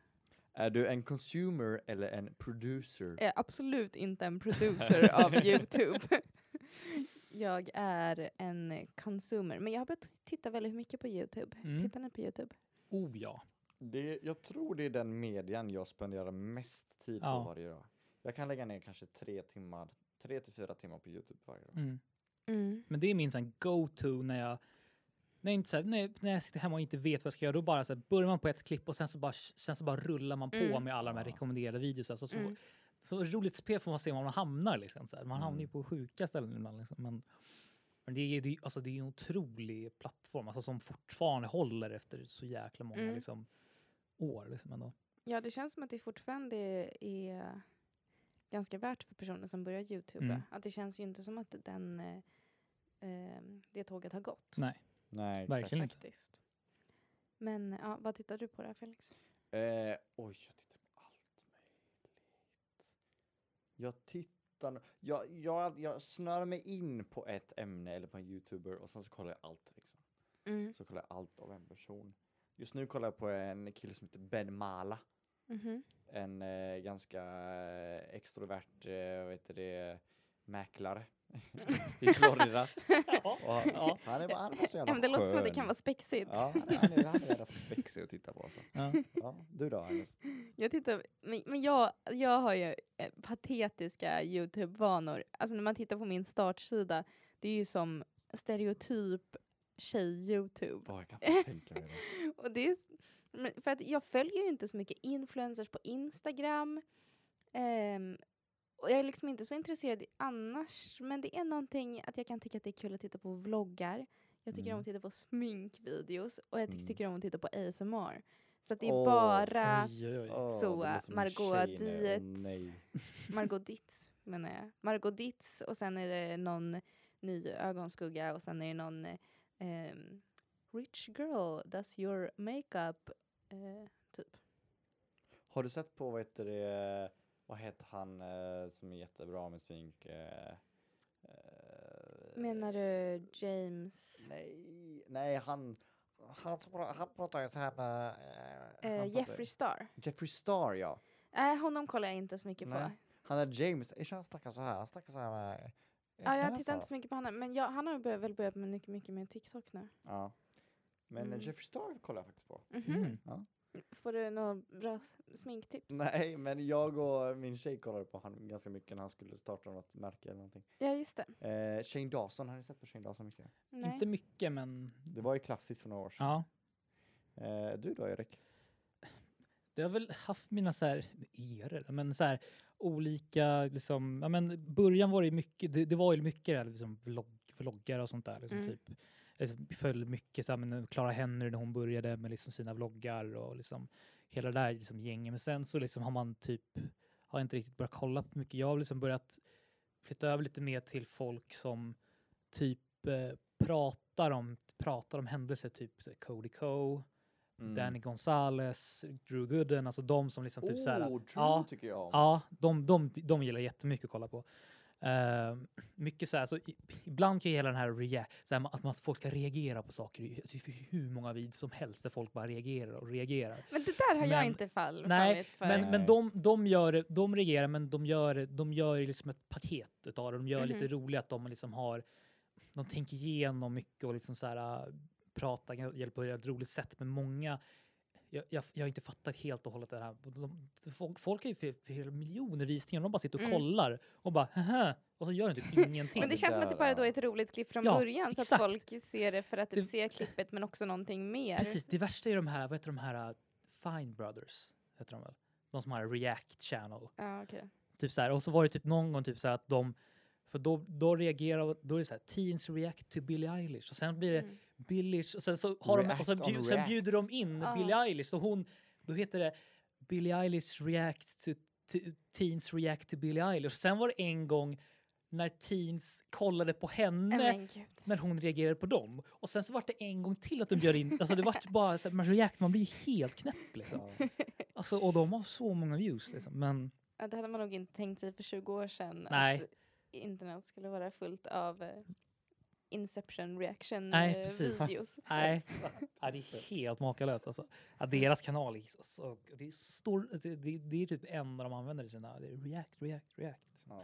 S1: Är du en consumer eller en producer?
S3: är absolut inte en producer av Youtube. jag är en consumer. Men jag har börjat titta väldigt mycket på Youtube.
S2: Mm.
S3: Tittar ni på Youtube?
S2: Oh ja.
S1: Det, jag tror det är den median jag spenderar mest tid på
S2: Ja.
S1: varje dag. Jag kan lägga ner kanske tre timmar, tre till fyra timmar på Youtube varje dag.
S2: Mm.
S3: Mm.
S2: Men det är min sån här go-to när jag när jag, inte, så här, när, när jag sitter hemma och inte vet vad jag ska göra, då bara så här, börjar man på ett klipp och sen så bara, sen så bara rullar man på
S3: Mm.
S2: med alla de här
S1: Ja.
S2: rekommenderade videorna. Så, så,
S3: Mm.
S2: så roligt spel får man se var man hamnar. Liksom, så här. Man hamnar ju
S1: Mm.
S2: på sjuka ställen ibland. Liksom. Men, men det är ju alltså, det är en otrolig plattform alltså, som fortfarande håller efter så jäkla många
S3: Mm.
S2: liksom, år. Liksom, ändå.
S3: Ja, det känns som att det fortfarande är ganska värt för personer som börjar Youtube.
S2: Mm.
S3: Att det känns ju inte som att den, eh, eh, det tåget har gått.
S2: Nej,
S1: Nej, exakt.
S2: verkligen inte.
S3: faktiskt. Men ja, vad tittar du på där Felix?
S1: Eh, oj, jag tittar på allt möjligt. Jag tittar... nog- Jag, jag, jag snör mig in på ett ämne eller på en youtuber och sen så kollar jag allt. Liksom.
S3: Mm.
S1: Så kollar jag allt av en person. Just nu kollar jag på en kille som heter Ben Mala.
S3: mhm.
S1: En eh, ganska eh, extrovert, eh, vad heter det, mäklare i Florida.
S2: Ja,
S1: Och han,
S2: ja.
S1: han, är, bara- han är bara så
S3: Ja,
S1: jävla
S3: men det låter som att det
S1: skön.
S3: kan vara spexigt.
S1: Ja, han är, han är, han är jävla spexig att titta på. Alltså.
S2: Ja.
S1: Ja, du då, Agnes?
S3: Jag tittar, men men jag, jag har ju eh, patetiska Youtube-vanor. Alltså när man tittar på min startsida, det är ju som stereotyp tjej-Youtube.
S1: Ja, jag kan fan tänka mig det.
S3: Och det är, s- men för att jag följer ju inte så mycket influencers på Instagram. Ehm, och jag är liksom inte så intresserad i- annars. Men det är någonting att jag kan tycka att det är kul att titta på vloggar. Jag tycker om
S1: Mm.
S3: att titta på sminkvideos. Och jag ty-
S1: Mm.
S3: tycker om att titta på ASMR. Så att det är
S1: Åh,
S3: bara
S2: Oj, oj, oj.
S1: Åh,
S3: Så,
S1: det
S3: äh,
S1: låter som en tjej
S3: Margot
S1: nu. Åh,
S3: Dietz.
S1: nej.
S3: Margot Ditz menar jag. Margot Ditz och sen är det någon ny ögonskugga och sen är det någon eh, ehm, Rich girl does your makeup. Eh,
S1: Har du sett på vad heter det, vad heter han eh, som är jättebra med smink? Eh, eh,
S3: menar du James?
S1: Nej, nej han, han, som pra- han pratar ju så här med... eh,
S3: Eh,
S1: han pratar-
S3: Jeffree Star.
S1: Jeffree Star ja.
S3: Nej, honom kollar jag inte så mycket på.
S1: Nej. Han är James, inte han snackar så här, han snackar så här med... eh,
S3: Ja, jag
S1: näsa.
S3: tittar inte så mycket på honom, men jag, han har börjat, väl börjat med mycket, mycket med TikTok nu.
S1: Ja. Men eh,
S3: Mm.
S1: Jeffree Star kollar jag faktiskt på.
S3: Mhm.
S2: Mm.
S3: Får du några bra s- sminktips?
S1: Nej, men jag och min tjej kollade på honom ganska mycket när han skulle starta något märke eller någonting.
S3: Ja, just det.
S1: Eh, Shane Dawson, har ni sett på Shane Dawson mycket?
S3: Nej.
S2: Inte mycket, men
S1: Det var ju klassiskt för några år sedan.
S2: ja.
S1: Eh, du då Erik?
S2: Det har väl haft mina så här, eror, men så här olika liksom, ja men början var det ju mycket, det, det var ju mycket det här liksom vlogg, vloggar och sånt där liksom
S3: Mm.
S2: typ. Liksom, följde mycket så här, men Clara Henry när hon började med liksom sina vloggar och liksom hela det där liksom gänget. Men sen så liksom har man typ, har jag inte riktigt börjat kolla på mycket. Jag har liksom börjat flytta över lite mer till folk som typ eh, pratar om, pratar om händelser, typ så här Cody Coe, Mm.
S1: Mm.
S2: Danny Gonzales, Drew Gooden, alltså de som liksom typ såhär...
S1: Drew
S2: ja,
S1: Oh, tycker jag om.
S2: ja de, de, de gillar jag jättemycket att kolla på. Eh, mycket såhär, så alltså, i- ibland kan ju hela den här, rea- såhär, att man, folk ska reagera på saker, det finns ju hur många videos som helst där folk bara reagerar och reagerar.
S3: Men det där har jag
S2: Men-
S3: inte fall
S2: nej,
S3: fallit för.
S2: Men, men
S1: Nej.
S2: de, de, gör, det- de reagerar, men de gör, de gör ju liksom ett paket utav det. De gör lite
S3: Mhm.
S2: roligt att de liksom har, de tänker igenom mycket och liksom så här, äh, pratar hjälper på ett roligt sätt. Men många, jag, jag, jag har inte fattat helt och hållet det här. De, folk, folk har ju för, för hela miljoner visningar, de bara sitter och
S3: Mm.
S2: kollar och bara Haha, och så gör de typ ingenting.
S3: Men det
S1: det
S3: känns som att
S1: där,
S3: det bara då är
S1: ja.
S3: ett roligt klipp från
S2: Ja,
S3: början så att
S2: exakt.
S3: folk ser det för att typ
S2: Det-
S3: se klippet men också någonting mer.
S2: Precis, det värsta är de här, vad heter de här, äh, Fine Brothers, heter de väl? De som har React Channel.
S3: Ja, okej.
S2: Typ så här, och så var det typ någon gång typ så här att de, för då, då reagerar, då är det så här, teens react to Billie Eilish och sen blir det
S3: Mm.
S2: Billie, och sen så har de, och sen,
S1: React on
S2: bjud, sen
S1: react.
S2: bjuder de in
S3: Ja.
S2: Billie Eilish och hon, då heter det Billie Eilish react to, to teens react to Billie Eilish. Och sen var det en gång när teens kollade på
S3: Nej,
S2: henne
S3: Men gud.
S2: när hon reagerade på dem och sen så var det en gång till att de bjöd in, alltså det vart bara så här, man react, man blir ju helt knäpp liksom.
S1: Ja.
S2: Alltså, och de har så många views liksom, men
S3: Ja, det hade man nog inte tänkt sig för 20 år sedan.
S2: Nej.
S3: Att internet skulle vara fullt av eh, Inception reaction
S2: Nej,
S3: eh,
S2: precis.
S3: videos.
S2: nej. Ja, det är helt makalöst. Alltså. Ja, deras kanal är så, så, det, är stor, det, det, det är typ enda de använder i sina... Det är react, react, react. liksom.
S1: Ja.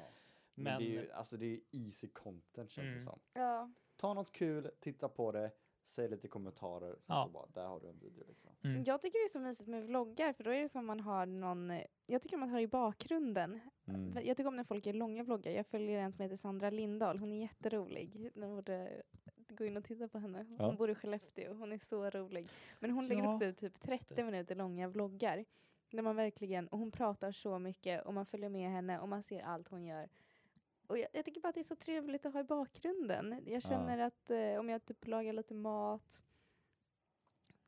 S1: Men,
S2: Men,
S1: det är ju alltså det är ju easy content känns det
S2: Mm.
S1: som.
S3: Ja.
S1: Ta något kul, titta på det, Säg lite kommentarer, sen
S2: Ja.
S1: så bara, där har du en video liksom.
S2: Mm.
S3: Jag tycker det är så mysigt med vloggar för då är det som man har någon, eh, jag tycker man har i bakgrunden.
S1: Mm.
S3: Jag tycker om när folk gör långa vloggar. Jag följer en som heter Sandra Lindahl, hon är jätterolig. Ni borde gå in och titta på henne. Hon
S1: Ja.
S3: bor i Skellefteå, hon är så rolig. Men hon lägger
S2: Ja,
S3: också ut typ
S2: just
S3: 30
S2: det.
S3: minuter långa vloggar. Där man verkligen, och hon pratar så mycket och man följer med henne och man ser allt hon gör. Och jag, jag tycker bara att det är så trevligt att ha i bakgrunden. Jag känner att eh, om jag typ lagar lite mat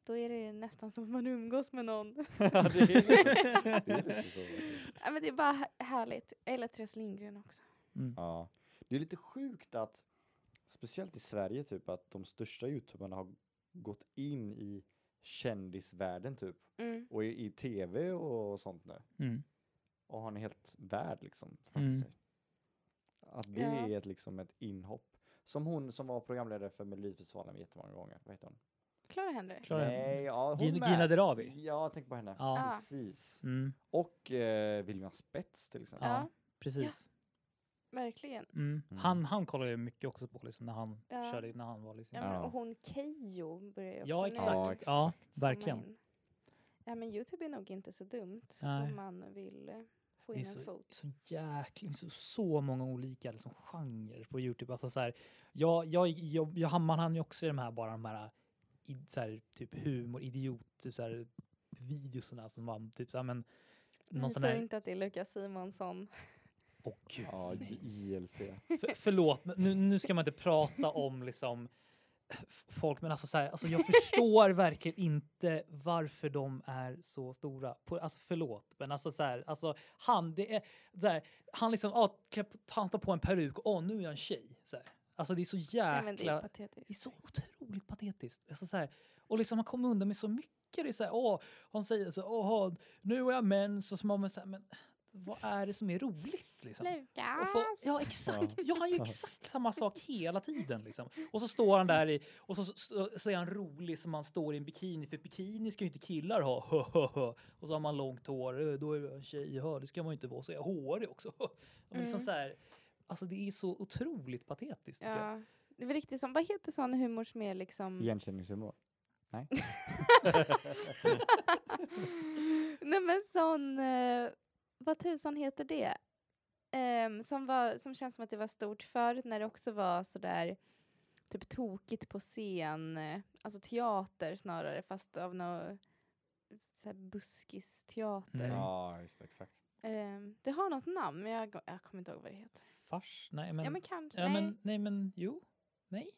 S3: då är det nästan som att man umgås med någon.
S1: det är lite, det är lite så. faktiskt.
S3: Ja, men det är bara här- härligt. Eller Therese Lindgren också.
S2: Mm.
S1: Ja. Det är lite sjukt att, speciellt i Sverige typ, att de största youtuberna har gått in i kändisvärlden typ.
S3: Mm.
S1: Och i, i tv och sånt där.
S2: Mm.
S1: och har en helt värld liksom framför
S2: Mm.
S1: sig. Att det
S3: Ja.
S1: är ett, liksom ett inhopp. Som hon som var programledare för Melodifestivalen jättemånga gånger. Vad heter hon?
S3: Klara Henry.
S2: Klara,
S1: Nej, ja, hon
S2: Gina,
S1: med.
S2: Gina Dirawi.
S1: Ja, tänk på henne.
S2: Ja.
S3: Ah.
S1: Precis.
S2: Mm.
S1: Och eh, William Spets till exempel.
S2: Ja,
S3: Ja.
S2: precis.
S3: Verkligen.
S2: Mm.
S1: Mm.
S2: Han, han kollade ju mycket också på liksom, när han
S3: Ja.
S2: körde, när han var liksom.
S3: Ja,
S2: Ja,
S3: men,
S1: Ja.
S3: och hon Keyyo börjar ju också
S2: Ja,
S3: nu
S2: exakt.
S1: Ja,
S3: komma
S1: exakt.
S2: verkligen.
S3: in. Ja, men Youtube är nog inte så dumt
S2: Nej.
S3: om man vill eh, få
S2: Det är
S3: in en
S2: så,
S3: fot.
S2: så jäkla, så, så många olika liksom, genrer på Youtube. Alltså, så här, jag, jag, jag, jag hamnar han ju också i de här bara de här, i, så här typ humor, idiot, typ så här videoserna som var typ så här, men någon
S3: Ni
S2: sån
S3: säger
S2: här, Äh,
S3: inte att det är Lukas Simonsson.
S2: åh gud,
S1: Ja,
S2: nej.
S1: ILC.
S2: För, förlåt, men nu, nu ska man inte prata om liksom f- folk, men alltså, så här, alltså jag förstår verkligen inte varför de är så stora. På, alltså förlåt, men alltså så här, alltså han, det är så här, han liksom, ja, klä på- han tar på en peruk, åh nu är jag en tjej. Så här. Alltså det är så
S3: Ja, men det
S2: jäkla,
S3: är
S2: det, är
S3: patetiskt.
S2: så otroligt patetiskt. Alltså, så här, och liksom han kommer undan med så mycket. Det är så här, åh, hon säger så, åh, nu är jag mens och så man så här, men vad är det som är roligt liksom? Och
S3: Lukas!
S2: få, ja exakt, ja han gör exakt samma sak hela tiden liksom. Och så står han där i, och så, så, så är han rolig som han står i en bikini, för bikini ska ju inte killar ha. Och så har man långt hår, "Eh, då är jag en tjej, hö, det ska man ju inte vara, så är jag hårig också. Ja, Men liksom
S3: Mm.
S2: så här, alltså det är så otroligt patetiskt. tycker jag.
S3: Ja. Det är väl riktigt som, vad heter sån humor som är liksom...
S1: Igenkänningshumor. Nej.
S3: Nej men sån, eh, vad tusan heter det? Ehm, som, var, som känns som att det var stort förut när det också var sådär typ tokigt på scen, eh, alltså teater snarare fast av någon så här buskis teater.
S2: Mm.
S1: Ja, just det, exakt.
S3: Ehm, det har något namn men jag, jag kommer inte ihåg vad det heter.
S2: Fars? Nej men,
S3: ja men kanske,
S2: ja,
S3: nej.
S2: men, nej, men jo, nej.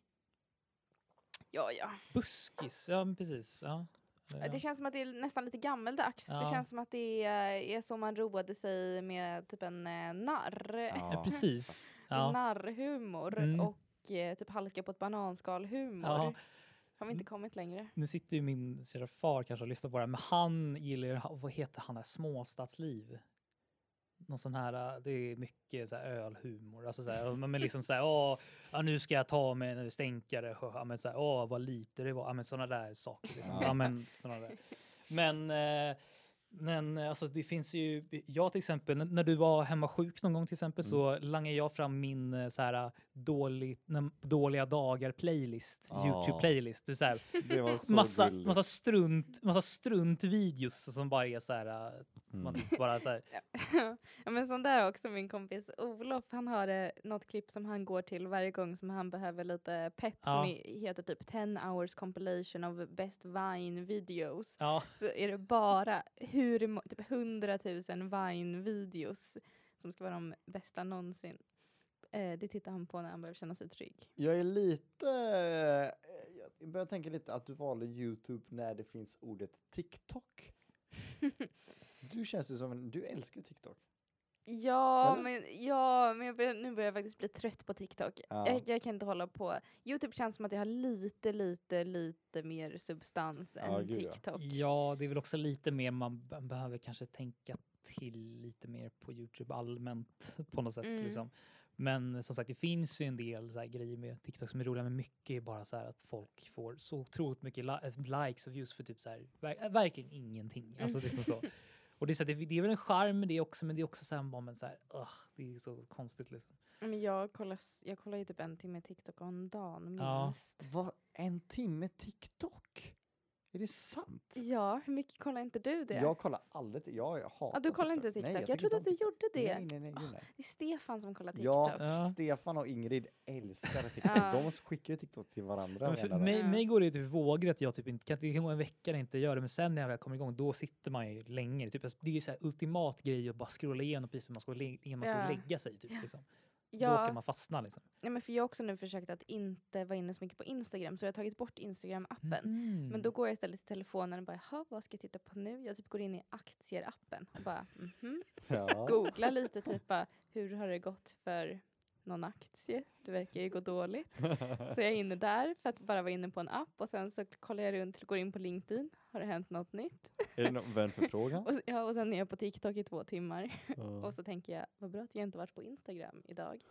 S3: ja, ja.
S2: Buskis, ja men precis. Ja. Eller,
S3: Det
S2: ja.
S3: känns som att det är nästan lite gammeldags. Det
S2: Ja.
S3: känns som att det är, är så man roade sig med typ en eh, narr.
S2: Ja, precis. Ja.
S3: narrhumor
S2: Mm.
S3: och eh, typ halka på ett bananskal-humor.
S2: Ja. Mm.
S3: Har vi inte kommit längre?
S2: Nu sitter ju min kära far kanske och lyssnar på det här, men han gillar ju, ha- vad heter han där, småstadsliv? Någon sån här, äh, det är mycket så här ölhumor, alltså så här, men men liksom så här, åh, ja, nu ska jag ta mig en stänkare, hö, ja, men så här, åh, vad lite det var, ja, men såna där saker. Liksom.
S1: Ja.
S2: Ja, men, såna där. men, eh, men eh, alltså det finns ju, jag till exempel, n- när du var hemma sjuk någon gång till exempel så langade jag fram min eh, så här dålig, när- dåliga dagar-playlist,
S1: Ja.
S2: Youtube-playlist. Du så här,
S1: Det var så
S2: massa,
S1: gulligt.
S2: massa, strunt, massa struntvideos som bara är så här... äh, Man
S1: Mm.
S2: typ bara så här
S3: ja, men sån där också min kompis Olof. Han har eh, något klipp som han går till varje gång som han behöver lite pepp
S2: Ja.
S3: som i- heter typ 10 hours compilation of best Vine videos.
S2: ja,
S3: Så är det bara hur mo- typ 100 000 Vine videos som ska vara de bästa någonsin. Eh, det tittar han på när han behöver känna sig trygg.
S1: Jag är lite... eh, Jag börjar tänka lite att du valde Youtube när det finns ordet TikTok. Du känns ju som en... Du älskar ju TikTok.
S3: Ja,
S1: Eller?
S3: men, ja, men jag börjar, nu börjar jag faktiskt bli trött på TikTok.
S1: Ja.
S3: Jag, jag kan inte hålla på. Youtube känns som att jag har lite, lite, lite mer substans
S1: Ja,
S3: än
S1: gud, ja.
S3: TikTok.
S2: ja, det är väl också lite mer man b- behöver kanske tänka till lite mer på Youtube allmänt på något sätt.
S3: Mm.
S2: Liksom. Men som sagt, det finns ju en del så här grejer med TikTok som är roliga, men mycket är bara så här att folk får så otroligt mycket li- äh, likes och views för typ så här, ver- äh, verkligen ingenting. Alltså, det, är som så. Och det, är så här, det, det är väl en charm med det också, men det är också så här, bara, men så här, ugh, det är så konstigt. Liksom.
S3: Men jag, kollar, s- jag kollar ju typ en timme TikTok om dagen
S2: Ja.
S3: minst.
S1: Vad En timme TikTok? Är det sant?
S3: Ja, hur mycket kollar inte du det?
S1: Jag kollar aldrig TikTok. Jag jag hatar
S3: ja, du kollar inte TikTok?
S1: Nej,
S3: jag
S1: tycker
S3: trodde
S1: om
S3: att du
S1: TikTok.
S3: gjorde det.
S1: Nej, nej, nej.
S3: Ah,
S1: gud, nej.
S3: Det är Stefan som kollar
S1: Ja,
S3: TikTok.
S2: Ja.
S1: Stefan och Ingrid älskar TikTok.
S3: Ja.
S1: De skickar ju TikTok till varandra.
S2: Men
S1: med
S2: för
S1: alla
S2: mig,
S3: Ja.
S2: mig går det ju typ vågor att jag typ inte kan, det kan gå en vecka när jag inte gör det, men sen när jag väl kommer igång då sitter man ju länge. Typ, det är ju så här ultimat grej att bara scrolla igenom precis som man ska, lä- innan man ska
S3: Ja.
S2: lägga sig. Typ, liksom. Då
S3: Ja,
S2: kan man fastna liksom.
S3: nej, men för jag har också nu försökt att inte vara inne så mycket på Instagram så jag har tagit bort Instagram-appen.
S2: Mhm.
S1: Mm.
S3: Men då går jag istället till telefonen och bara jaha, vad ska jag titta på nu? Jag typ går in i aktier-appen och bara mhm.
S1: Ja.
S3: Googlar lite typ bara, hur har det gått för någon aktie? Det verkar ju gå dåligt. Så jag är inne där för att bara vara inne på en app och sen så kollar jag runt, går in på LinkedIn. Har det hänt något nytt?
S1: Är det någon vänförfrågan?
S3: Och, s- ja, och sen är jag på TikTok i två timmar.
S1: Ja.
S3: Och så tänker jag, vad bra att jag inte varit på Instagram idag.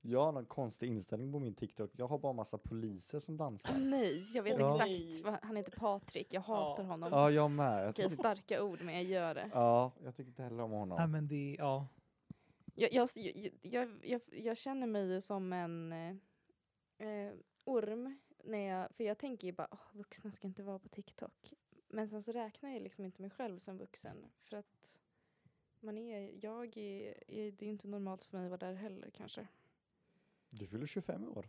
S1: Jag har någon konstig inställning på min TikTok. Jag har bara massa poliser som
S3: Åh,
S1: dansar.
S3: nej, jag vet
S1: Ja.
S3: exakt. vad- Han heter Patrik, jag hatar honom.
S1: Ja, jag med. Jag
S3: Okej,
S1: tror...
S3: starka ord men jag gör det.
S1: Ja, jag tycker inte heller om
S2: Ja,
S1: honom.
S2: men det, ja.
S3: Jag, jag, jag, jag, jag, jag känner mig ju som en eh, eh, orm. När jag, för jag tänker ju bara, "Åh, vuxna ska inte vara på TikTok. Men sen så räknar jag liksom inte mig själv som vuxen. För att man är, jag är, är, det är ju inte normalt för mig att vara där heller kanske.
S1: Du fyller 25 år.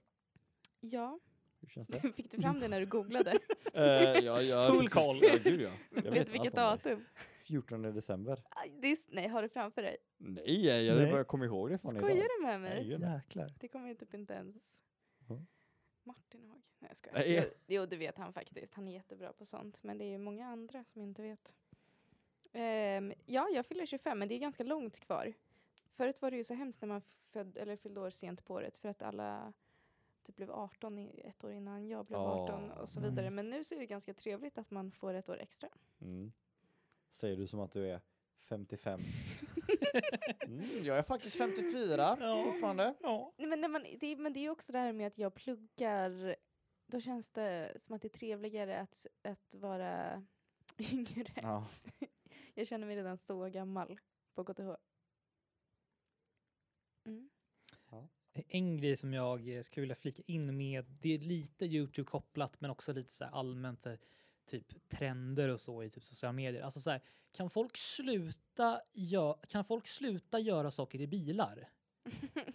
S3: Ja,
S1: Hur känns det?
S3: fick du fram det när du googlade?
S1: Eh, jag
S2: Full precis- koll. ja,
S1: gud, ja.
S3: Vet du vilket datum?
S1: 14 december.
S3: Aj, det är, s- nej, har du framför dig?
S1: Nej, jag,
S2: Nej.
S1: bara kommer ihåg det från idag.
S3: Skojar du med mig?
S1: Nej, gud, nej.
S2: Jäklar.
S3: Det kommer jag typ inte ens
S1: Mm.
S3: Martin ihåg. Nej jag skojar.
S1: Nej.
S3: Jo, jo det vet han faktiskt. Han är jättebra på sånt. Men det är ju många andra som inte vet. Ehm, ja jag fyller 25 men det är ganska långt kvar. Förut var det ju så hemskt när man född, eller fyllde år sent på året för att alla typ blev 18 i, ett år innan jag blev
S1: Ja,
S3: 18 och så vidare.
S2: nice.
S3: Men nu så är det ganska trevligt att man får ett år extra.
S1: Mm. Säger du som att du är 55. Mm, jag är faktiskt 54
S2: Ja.
S1: fortfarande.
S2: Ja.
S3: Nej, men, när man, det, är- men det är också det här med att jag pluggar. Då känns det som att det är trevligare att, att vara yngre.
S1: Ja.
S3: Jag känner mig redan så gammal på KTH. Mm.
S2: En grej som jag eh, skulle vilja flika in med, det är lite Youtube kopplat men också lite så här allmänt så här, typ trender och så i typ sociala medier. Alltså så här, kan folk sluta, gö- kan folk sluta göra saker i bilar?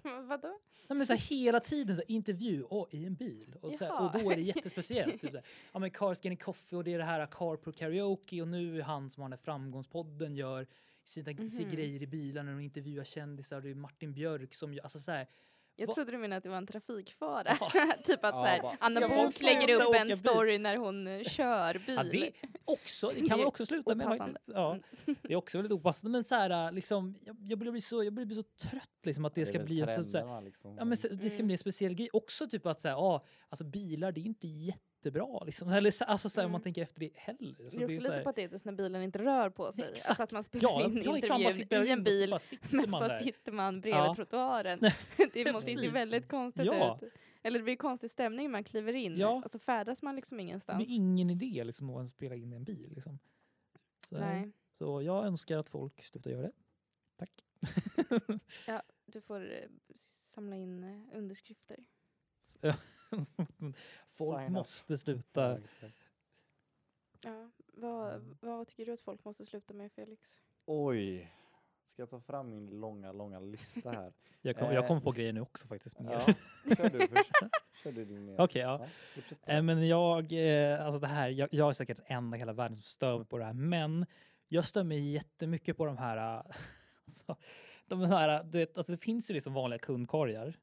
S3: Vadå?
S2: Nej, men så här, hela tiden så här, intervju och i en bil. Och, så här,
S3: Jaha.
S2: och då är det jättespeciellt. Typ, så här, ja, men Cars Getting Coffee och det är det här Carpool Karaoke och nu är han som har den här framgångspodden gör sina
S3: Mhm.
S2: sina grejer i bilarna och intervjuar kändisar. och Det är Martin Björk som gör... Alltså så här,
S3: Jag
S2: Va-
S3: trodde du menade att det var en trafikfara.
S2: Ja.
S3: typ att
S1: Ja,
S3: så här,
S1: bara,
S3: Anna
S2: "Jag
S3: Bok
S2: måste
S3: lägger
S2: sluta
S3: upp
S2: åka bil."
S3: en story när hon eh, kör bil.
S2: Ja, det, alltså, också, det kan
S3: Det
S2: man
S3: är
S2: också sluta med.
S3: opassande. Mm.
S2: Faktiskt. Ja, det är också väldigt opassande. Men så här, liksom, jag, jag, börjar bli så, jag börjar bli så trött liksom, att det, ska
S1: är väl
S2: bli en så, så här,
S1: trenderna liksom.
S2: ja, men, så, det ska
S3: Mm.
S2: bli en speciell grej. Också typ att så här, ja, alltså, bilar, det är inte jättebra. Liksom. Eller, så- alltså, så här, om man
S3: Mm.
S2: tänker efter det heller. Så
S3: det är också
S2: så
S3: lite
S2: här,
S3: patetiskt när bilen inte rör på sig.
S2: exakt.
S3: Alltså att man spelar
S2: ja,
S3: in
S2: ja, exakt, man bara
S3: intervjun
S2: sitter
S3: i en bil
S2: och så bara sitter
S3: men så
S2: man
S3: bara
S2: där.
S3: sitter man bredvid
S2: Ja.
S3: trottoaren. det måste se
S2: precis.
S3: väldigt konstigt
S2: Ja.
S3: ut. Eller det blir konstig stämning när man kliver in
S2: Ja.
S3: och så färdas man liksom
S2: Det är
S3: ingenstans.
S2: ingen idé liksom, att ens spela in i en bil. Liksom. Så,
S3: Nej,
S2: så jag önskar att folk slutar göra det. Tack.
S3: du får eh, samla in eh, underskrifter.
S2: Så- folk
S1: Sign up.
S2: måste
S1: Ja,
S2: sluta
S1: just det.
S3: Ja, vad, vad tycker du att folk måste sluta med Felix?
S1: Oj. Ska jag ta fram min långa, långa lista här?
S2: Jag, kom,
S1: Eh,
S2: jag kommer på grejer nu också faktiskt. men-
S1: Ja, kör du först. Kör du din
S2: Okej, ja.
S1: Ja, fortsätt på
S2: Eh,
S1: det.
S2: Men jag, eh, alltså det här, jag, jag är säkert en i hela världen som stör mig på det här, men jag stör mig jättemycket på de här, eh, alltså, de här du vet, alltså det finns ju liksom vanliga kundkorgar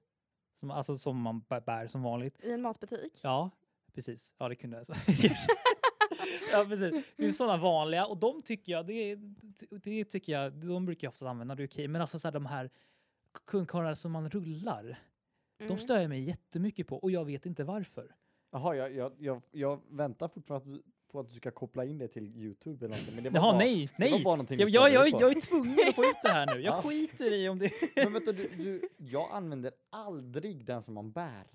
S2: som, alltså, som man bä- bär som vanligt.
S3: I en matbutik?
S2: Ja, precis. Ja, det kunde jag säga. Ja, precis. Det är sådana vanliga och de tycker jag, det, det tycker jag, de brukar jag ofta använda, det är okej. Men alltså så här, de här kundkorgarna som man rullar,
S3: Mm.
S2: de stör jag mig jättemycket på och jag vet inte varför.
S1: Jaha, jag, jag, jag, jag väntar fortfarande att du- på att du ska koppla in det till Youtube eller någonting. Men det var
S2: Jaha,
S1: bara,
S2: nej,
S1: Det var
S2: nej!
S1: bara någonting du
S2: Jag, jag,
S1: störde
S2: jag,
S1: dig på.
S2: jag är tvungen att få ut det här nu.
S1: Ja.
S2: Jag skiter i om det...
S1: Men vänta, du, du, jag använder aldrig den som man bär.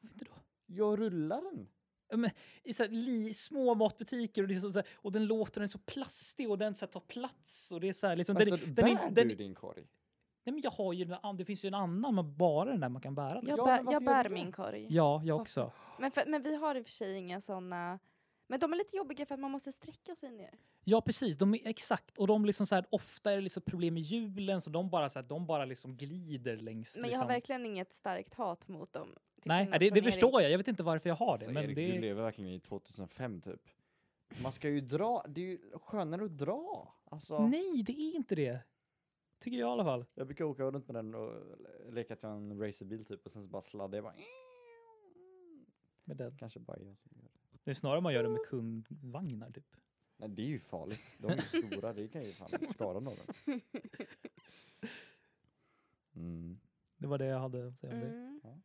S2: Varför inte då?
S1: Jag rullar den.
S2: I så här, li, små matbutiker och, det är så, så här, och den låter, den är så plastig och den så här, tar plats och det är så här liksom... Den,
S1: Vänta,
S2: den,
S1: bär
S2: den, den,
S1: du din korg?
S2: Nej, men jag har ju, en an- det finns ju en annan, men bara den där man kan bära. liksom.
S3: Jag,
S1: Ja,
S3: bär-
S1: men varför gör du
S3: jag bär
S1: det?
S3: min korg.
S2: Ja, jag också.
S3: Men, för, men vi har i och för sig inga såna. Men de är lite jobbiga för att man måste sträcka sig ner.
S2: Ja, precis. De är, exakt. Och de liksom så här, ofta är det liksom problem med hjulen så de bara, så här, de bara liksom glider längs.
S3: Men jag
S2: liksom.
S3: har verkligen inget starkt hat mot dem. till
S2: Nej,
S3: skillnad
S2: det, det
S3: från
S2: förstår
S3: Erik.
S2: jag. Jag vet inte varför jag har det.
S4: Alltså,
S2: Men
S4: Erik,
S2: det
S4: du lever verkligen i 2005 typ.
S1: Man ska ju dra, det är ju skönare att dra. Alltså,
S2: Nej, det är inte det. Tycker jag i alla fall.
S1: Jag brukar åka runt med den och le- leka att jag är en racerbil typ och sen så bara sladdar jag bara.
S2: Med den.
S1: Kanske bara jag som gör det.
S2: Det är snarare man gör det med kundvagnar typ.
S1: Nej det är ju farligt, de är ju stora, det kan ju fan skada någon. Mm.
S2: Det var det jag hade att säga om det.
S3: Mm.
S1: Ja.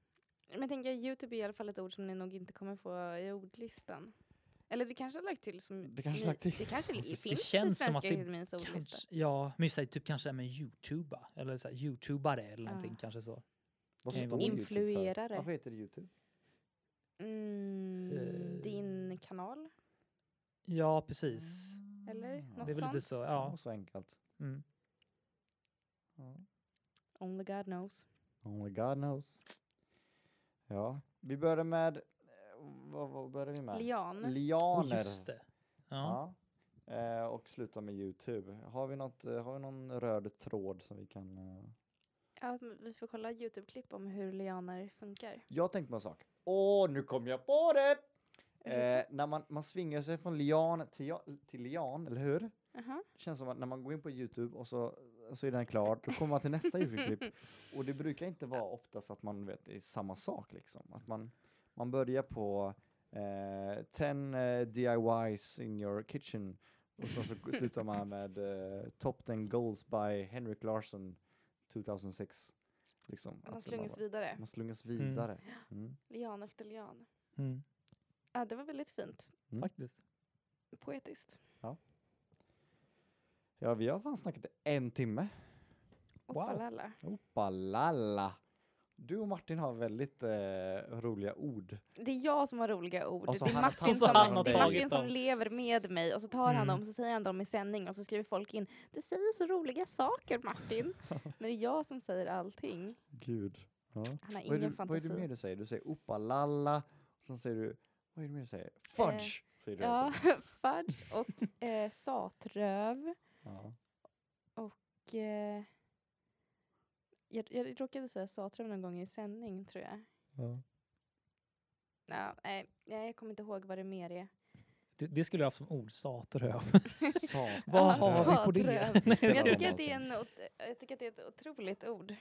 S3: Men jag tänker Youtube är i alla fall ett ord som ni nog inte kommer få i ordlistan. Eller det kanske har lagt till som...
S1: Det kanske
S3: ni-
S1: lagt till.
S3: Det kanske
S1: precis.
S3: finns
S2: Det känns som
S3: i Svenska
S2: att det
S3: Akademiens ordlista.
S2: Kanske, ja, men säg typ kanske det här med youtuba. Eller så här, youtubare eller någonting
S3: Ja.
S2: kanske så.
S1: Vad
S2: Kan ju
S1: står
S2: vara-
S1: YouTube för?
S3: Influerare.
S1: Varför heter det Youtube?
S2: Eh.
S3: Mm, din kanal?
S2: Ja, precis.
S3: Mm. Eller
S1: Ah,
S2: Det är
S3: Något
S2: väl lite
S3: sånt?
S2: så.
S1: Ja.
S2: Ja.
S1: Så enkelt.
S2: Mm.
S1: Ja.
S3: Only God knows.
S1: Only Oh God knows. Ja, vi började med, eh, vad, vad började vi med?
S3: Lian.
S2: Och
S1: Lianer.
S2: Oh, just det. Ja.
S1: Ja. Eh, och sluta med Youtube. Har vi, något, eh, har vi någon röd tråd som vi kan... Eh...
S3: Ja, men vi får kolla Youtube-klipp om hur lianer funkar.
S1: Jag tänkte på en sak. Åh, nu kom jag på det! Eh, när man, man svingar sig från lian till, ja- till lian, eller hur?
S3: Aha.
S1: Känns som att när man går in på Youtube och så, så är den klar, då kommer man till nästa Youtube-klipp. Och det brukar inte vara oftast att man vet, det är samma sak liksom. Att man, man börjar på eh, 10 eh, DIYs in your kitchen och sen så slutar man med eh, Top 10 Goals by Henrik Larsson 2006. Liksom, att
S3: Man
S1: det bara
S3: slungas
S1: var-
S3: vidare.
S1: man slungas vidare. Mm.
S3: Lian efter lian.
S2: Mm.
S3: Ja, det var väldigt fint.
S1: Mm.
S2: Faktiskt.
S3: Poetiskt.
S1: Ja, vi har fan snackat i en timme.
S2: Wow.
S3: Oppalala.
S1: Opalalla. Du och Martin har väldigt eh, roliga ord.
S3: Det är jag som har roliga ord.
S1: Och så
S3: det är
S1: han har
S3: Martin,
S1: tagit
S3: som,
S1: dem.
S3: det är
S1: Han har tagit
S3: Martin som
S2: dem.
S3: lever med mig och så tar han
S2: Mm.
S3: dem så säger han dem i sändning och så skriver folk in Du säger så roliga saker Martin. Men det är jag som säger allting.
S1: Gud. Ja.
S3: Han har
S1: Vad, är
S3: ingen
S1: du, vad är det mer
S3: fantasi.
S1: du säger? Du säger opalalla, och sen säger du, vad är det mer du säger? Fudge!
S3: Eh,
S1: säger du.
S3: Ja,
S1: alltså.
S3: fudge och eh, satröv.
S1: Ja.
S3: Och, eh, jag, jag råkade säga satröv någon gång i sändning tror jag.
S1: Ja.
S3: Ja, nej, nej, jag kommer inte ihåg vad det mer är.
S2: Det, det skulle jag haft som ord, satröv.
S1: Satan.
S2: Vad
S1: Ja,
S2: har vi på det?
S3: satröv.
S2: Nej,
S3: Men
S2: jag
S1: Spelar de
S2: skojar.
S3: Jag tycker, att det är en,
S1: allting?
S3: ot- jag tycker att det är ett otroligt ord.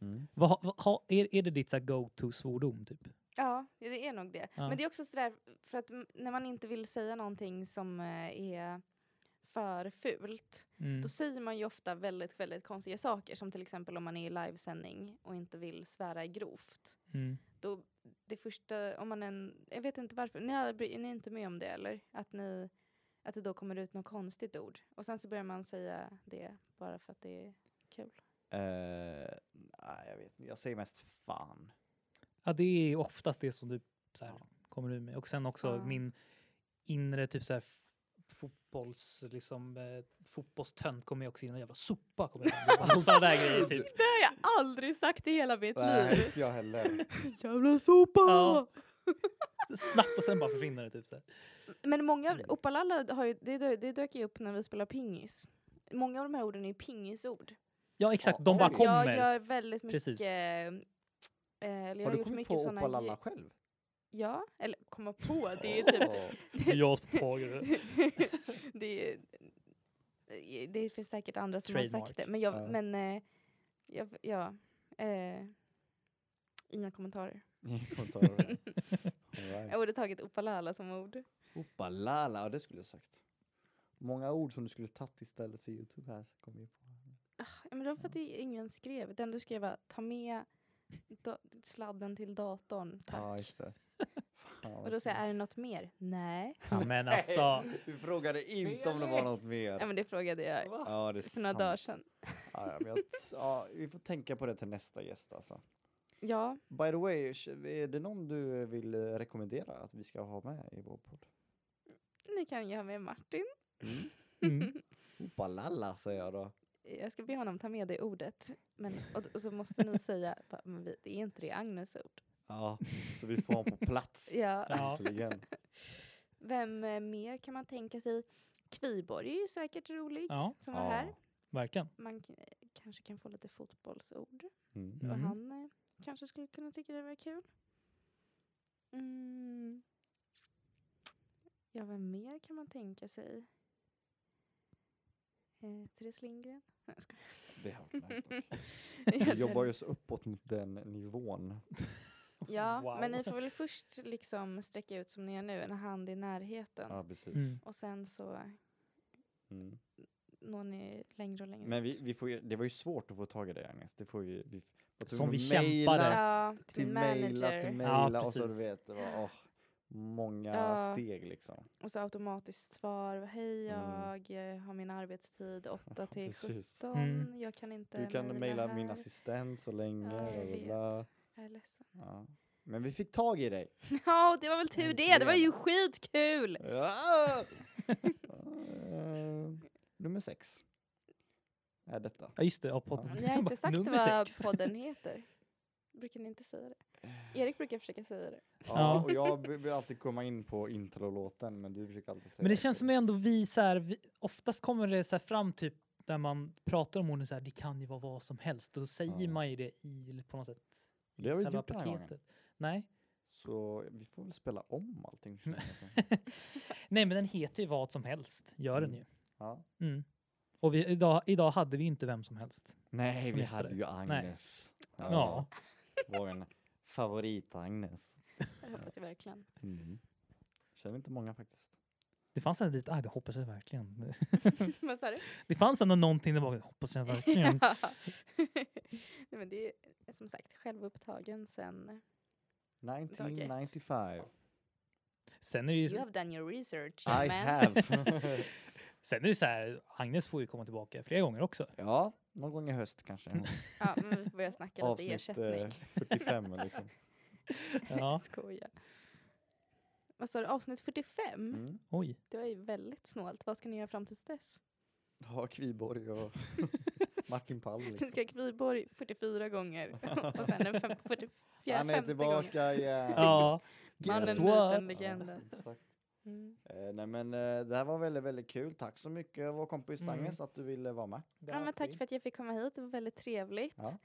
S1: Mm.
S2: Vad, ha- vad, ha- är, är det ditt så här go-to-svordom? Typ?
S3: Ja, det- det är nog det.
S2: Ja.
S3: Men det är också sådär, för att m- när man inte vill säga någonting som eh, är för fult,
S2: Mm.
S3: då säger man ju ofta väldigt, väldigt konstiga saker. Som till exempel om man är i livesändning och inte vill svära grovt.
S2: Mm.
S3: Då det första, om man en, jag vet inte varför, ni har- bry- ni är inte med om det eller? Att, ni, att det då kommer ut något konstigt ord. Och sen så börjar man säga det bara för att det är kul.
S1: Eh, nej, jag vet inte. Jag säger mest fan.
S2: Ja, det är oftast det som du så här,
S1: Ja.
S2: kommer ur mig. Och sen också
S3: Ja.
S2: min inre typ så här, f- fotbolls, liksom, eh, fotbollstönt kommer jag också in. och Jävla sopa kommer jag in. Och sådana där grejer typ.
S3: Det har jag aldrig sagt i hela mitt
S1: Nej, inte jag heller.
S3: Jävla sopa!
S2: Ja. Snabbt och sen bara försvinner det. Typ, så här.
S3: Men många
S1: Mm.
S3: av Opalala har ju, det, dö- det dök ju upp när vi spelar pingis. Många av de här orden är ju pingisord.
S2: Ja exakt,
S1: Ja,
S2: de bara
S1: oj.
S2: kommer.
S3: Jag gör väldigt mycket...
S2: Precis.
S3: eh, eller jag
S1: Har
S3: har,
S1: du
S3: gjort
S1: kommit
S3: mycket
S1: på
S3: såna...
S1: opalalla
S3: ljud-
S1: själv?
S3: Ja, eller komma på, det är ju typ...
S1: Åh.
S2: Jag tar tag i det.
S3: det, är, det finns säkert andra som har
S2: Trademark.
S3: sagt det. Men jag...
S1: Ja.
S3: Men, eh, jag ja, eh, inga kommentarer.
S1: Ingen kommentar. All right.
S3: Jag borde tagit opalala som ord.
S1: Opalala, ja det skulle jag sagt. Många ord som du skulle tagit istället för Youtube här. Så kom vi på.
S3: Ja, men det var för att det ingen skrev. Den du skrev var ta med da- sladden till datorn, tack.
S1: Ja, just det. Fan, vad
S3: och då säger
S1: skumt.
S3: jag, är det något mer? Nej.
S2: Ja, men alltså.
S1: Du frågade inte om det var något mer.
S3: Ja, men det frågade jag
S1: Ja, det är
S3: för några
S1: sant.
S3: dagar sedan.
S1: Ja, ja, men jag, ja, vi får tänka på det till nästa gäst alltså.
S3: Ja,
S1: By the way, är det någon du vill eh, rekommendera att vi ska ha med i vår podd?
S3: ni kan ju ha med Martin.
S2: Mm.
S1: Opalala säger jag då.
S3: jag ska be honom ta med det ordet. Men, och, och så måste ni säga, bara, men vi, det är inte det Agnes ord.
S5: Ja, så vi får honom på plats.
S3: Ja.
S2: Ja.
S1: Äntligen.
S3: Vem eh, mer kan man tänka sig? Kviborg är ju säkert rolig
S2: ja,
S3: som var här.
S2: verkligen.
S3: Man k- eh, kanske kan få lite fotbollsord.
S1: Mm.
S3: Och
S2: Mm.
S3: han eh, kanske skulle kunna tycka det var kul. Mm. Ja, vem mer kan man tänka sig? Eh, Therese Lindgren? Nej, jag skojar.
S5: Det har varit nice dock.
S1: Vi
S3: Jag
S1: jobbar ju oss uppåt mot den nivån.
S3: Ja,
S2: Wow.
S3: men ni får väl först liksom sträcka ut som ni gör nu, en hand i närheten.
S1: Ja, precis.
S2: Mm.
S3: Och sen så
S1: Mm.
S3: når ni längre och längre
S1: Men
S3: ut.
S1: vi, vi får ju, det var ju svårt att få tag i dig Agnes. Det får vi, vi var
S2: Som
S1: tvungna
S2: vi
S1: att
S2: kämpade.
S1: mejla,
S3: Ja, till,
S1: Till
S3: manager.
S1: mejla, till
S2: Ja,
S1: mejla och så du
S2: precis.
S1: vet, det var åh, många
S3: Ja.
S1: steg liksom.
S3: Och så automatiskt svar. Hej,
S1: Mm.
S3: jag eh, har min arbetstid 8 till
S1: Precis.
S3: 17.
S2: Mm.
S3: Jag kan inte
S1: Du kan mejla min
S3: här.
S1: assistent så länge.
S3: Ja,
S1: bla,
S3: jag
S1: bla,
S3: vet.
S1: bla.
S3: Jag är ledsen.
S1: Ja. Men vi fick tag i dig.
S3: Ja, och det var väl tur det. Det var ju
S1: Äntligen. Mm.
S3: skitkul.
S1: Ja. Eh, nummer sex. Är detta.
S2: Ja, just det. Ja, podden.
S3: Ni har
S2: Bara,
S3: inte sagt
S2: nummer
S3: vad
S2: sex. Eh.
S3: podden heter. Brukar ni inte säga det? Erik brukar försöka säga det.
S2: Ja.
S1: Ja, och jag b- vill alltid komma in på introlåten men du försöker alltid säga
S2: Men det
S1: själv.
S2: känns som ändå vi så här, vi, oftast kommer det så här fram typ när man pratar om orden så här, det kan ju vara vad som helst. Och då säger
S1: Ja.
S2: man ju det i, på något sätt. i
S1: Det har vi inte
S2: själva
S1: gjort den här gången.
S2: Nej.
S1: Så vi får väl spela om allting. känner jag.
S2: Nej, men den heter ju vad som helst, gör den ju.
S1: Mm. Ja.
S2: Mm. Och vi, idag, idag hade vi ju inte vem som helst.
S1: Nej,
S2: Som
S1: vi
S2: gäster.
S1: hade ju Agnes.
S2: Ja.
S1: Vår favorit-Agnes.
S3: Jag hoppas jag verkligen.
S1: Mm. Känner inte många faktiskt.
S2: Det fanns en liten, aj, det hoppas jag verkligen.
S3: vad sa du?
S2: Det fanns ändå någonting där bak, det hoppas jag verkligen.
S3: Ja. Nej, men det är som sagt självupptagen sen...
S1: 1995.
S2: Sen är det
S3: You
S2: ju,
S3: have done your research,
S1: I have.
S2: sen är det så här, Agnes får ju komma tillbaka flera gånger också.
S1: ja, någon gång i höst kanske.
S3: ja, men vi får börja snacka lite
S1: Avsnitt eh,
S3: ersättning.
S1: 45 liksom.
S2: Ja,
S3: Skoja. Vad sa du, avsnitt 45?
S1: Mm.
S2: oj.
S3: Det var ju väldigt snålt. Vad ska ni göra fram tills dess?
S1: Ja, Kviborg och Martin Pall.
S3: Ni ska
S1: Liksom.
S3: ha Kviborg 44 gånger och sen den fem- 44
S1: Han är
S3: 50 gången.
S1: tillbaka igen.
S2: Ja,
S1: Guess
S3: Mannen,
S2: what?
S3: myten, legenden.
S1: Exakt.
S3: Mm.
S1: Eh, nej men eh, det här var väldigt, väldigt kul. Tack så mycket vår kompis
S2: Mm.
S1: Agnes att du ville vara med.
S3: Ja, men tack för att jag fick komma hit, det var väldigt trevligt.
S1: Ja.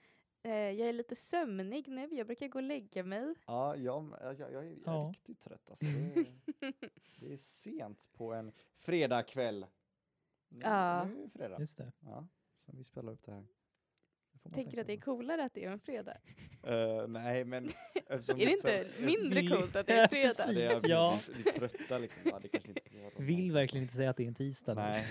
S3: Eh, jag är lite sömnig nu, jag brukar gå och lägga mig.
S1: Ja, jag, med. jag, jag, jag är jag är
S2: Ja.
S1: riktigt trött alltså. Det är, det är sent på en fredagkväll. Nu,
S3: Ja.
S1: nu är det fredag.
S2: Just det.
S1: Ja, så vi spelar upp det här. Det får man
S3: Tänker du att det är
S1: tänka
S3: coolare att det är en fredag?
S1: på. Eh, nej, men eftersom
S3: Är det
S1: vi
S3: inte
S1: spelar-
S3: mindre
S2: Vill-
S3: coolt att det är
S2: Ja,
S3: fredag?
S1: Ja, det är,
S2: Ja.
S1: vi, vi är trötta liksom. Ja, det kanske inte är så
S2: Vill verkligen inte säga att det är en tisdag. nu.
S1: Nej.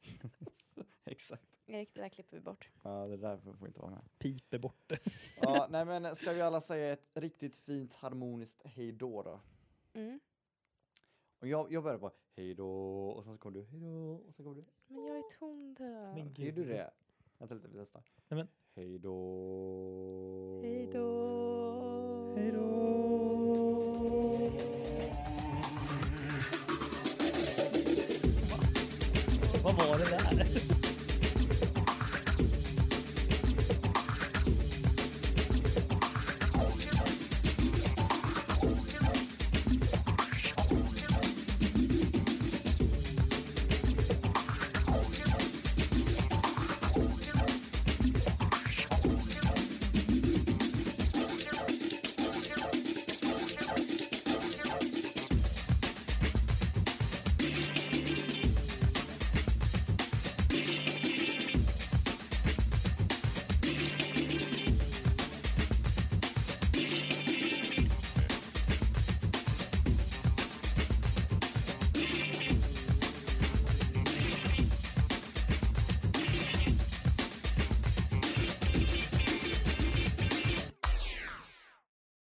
S1: Äsch. Exakt.
S3: Erik, det där klipper vi bort.
S1: Ja, det där får får inte vara med.
S2: Piper bort det.
S1: Ja, nej men ska vi alla säga ett riktigt fint harmoniskt hej då då?
S3: Mm.
S1: Och jag, jag börjar bara hej då och sen så kommer du hej då och sen kommer du
S3: Men jag är tondöv.
S2: Men
S1: Gör du
S2: gud.
S1: det? Vänta lite, vi testar.
S2: Nej, men-
S1: Hej då.
S3: Hej då.
S2: Hej då! Vad var det där?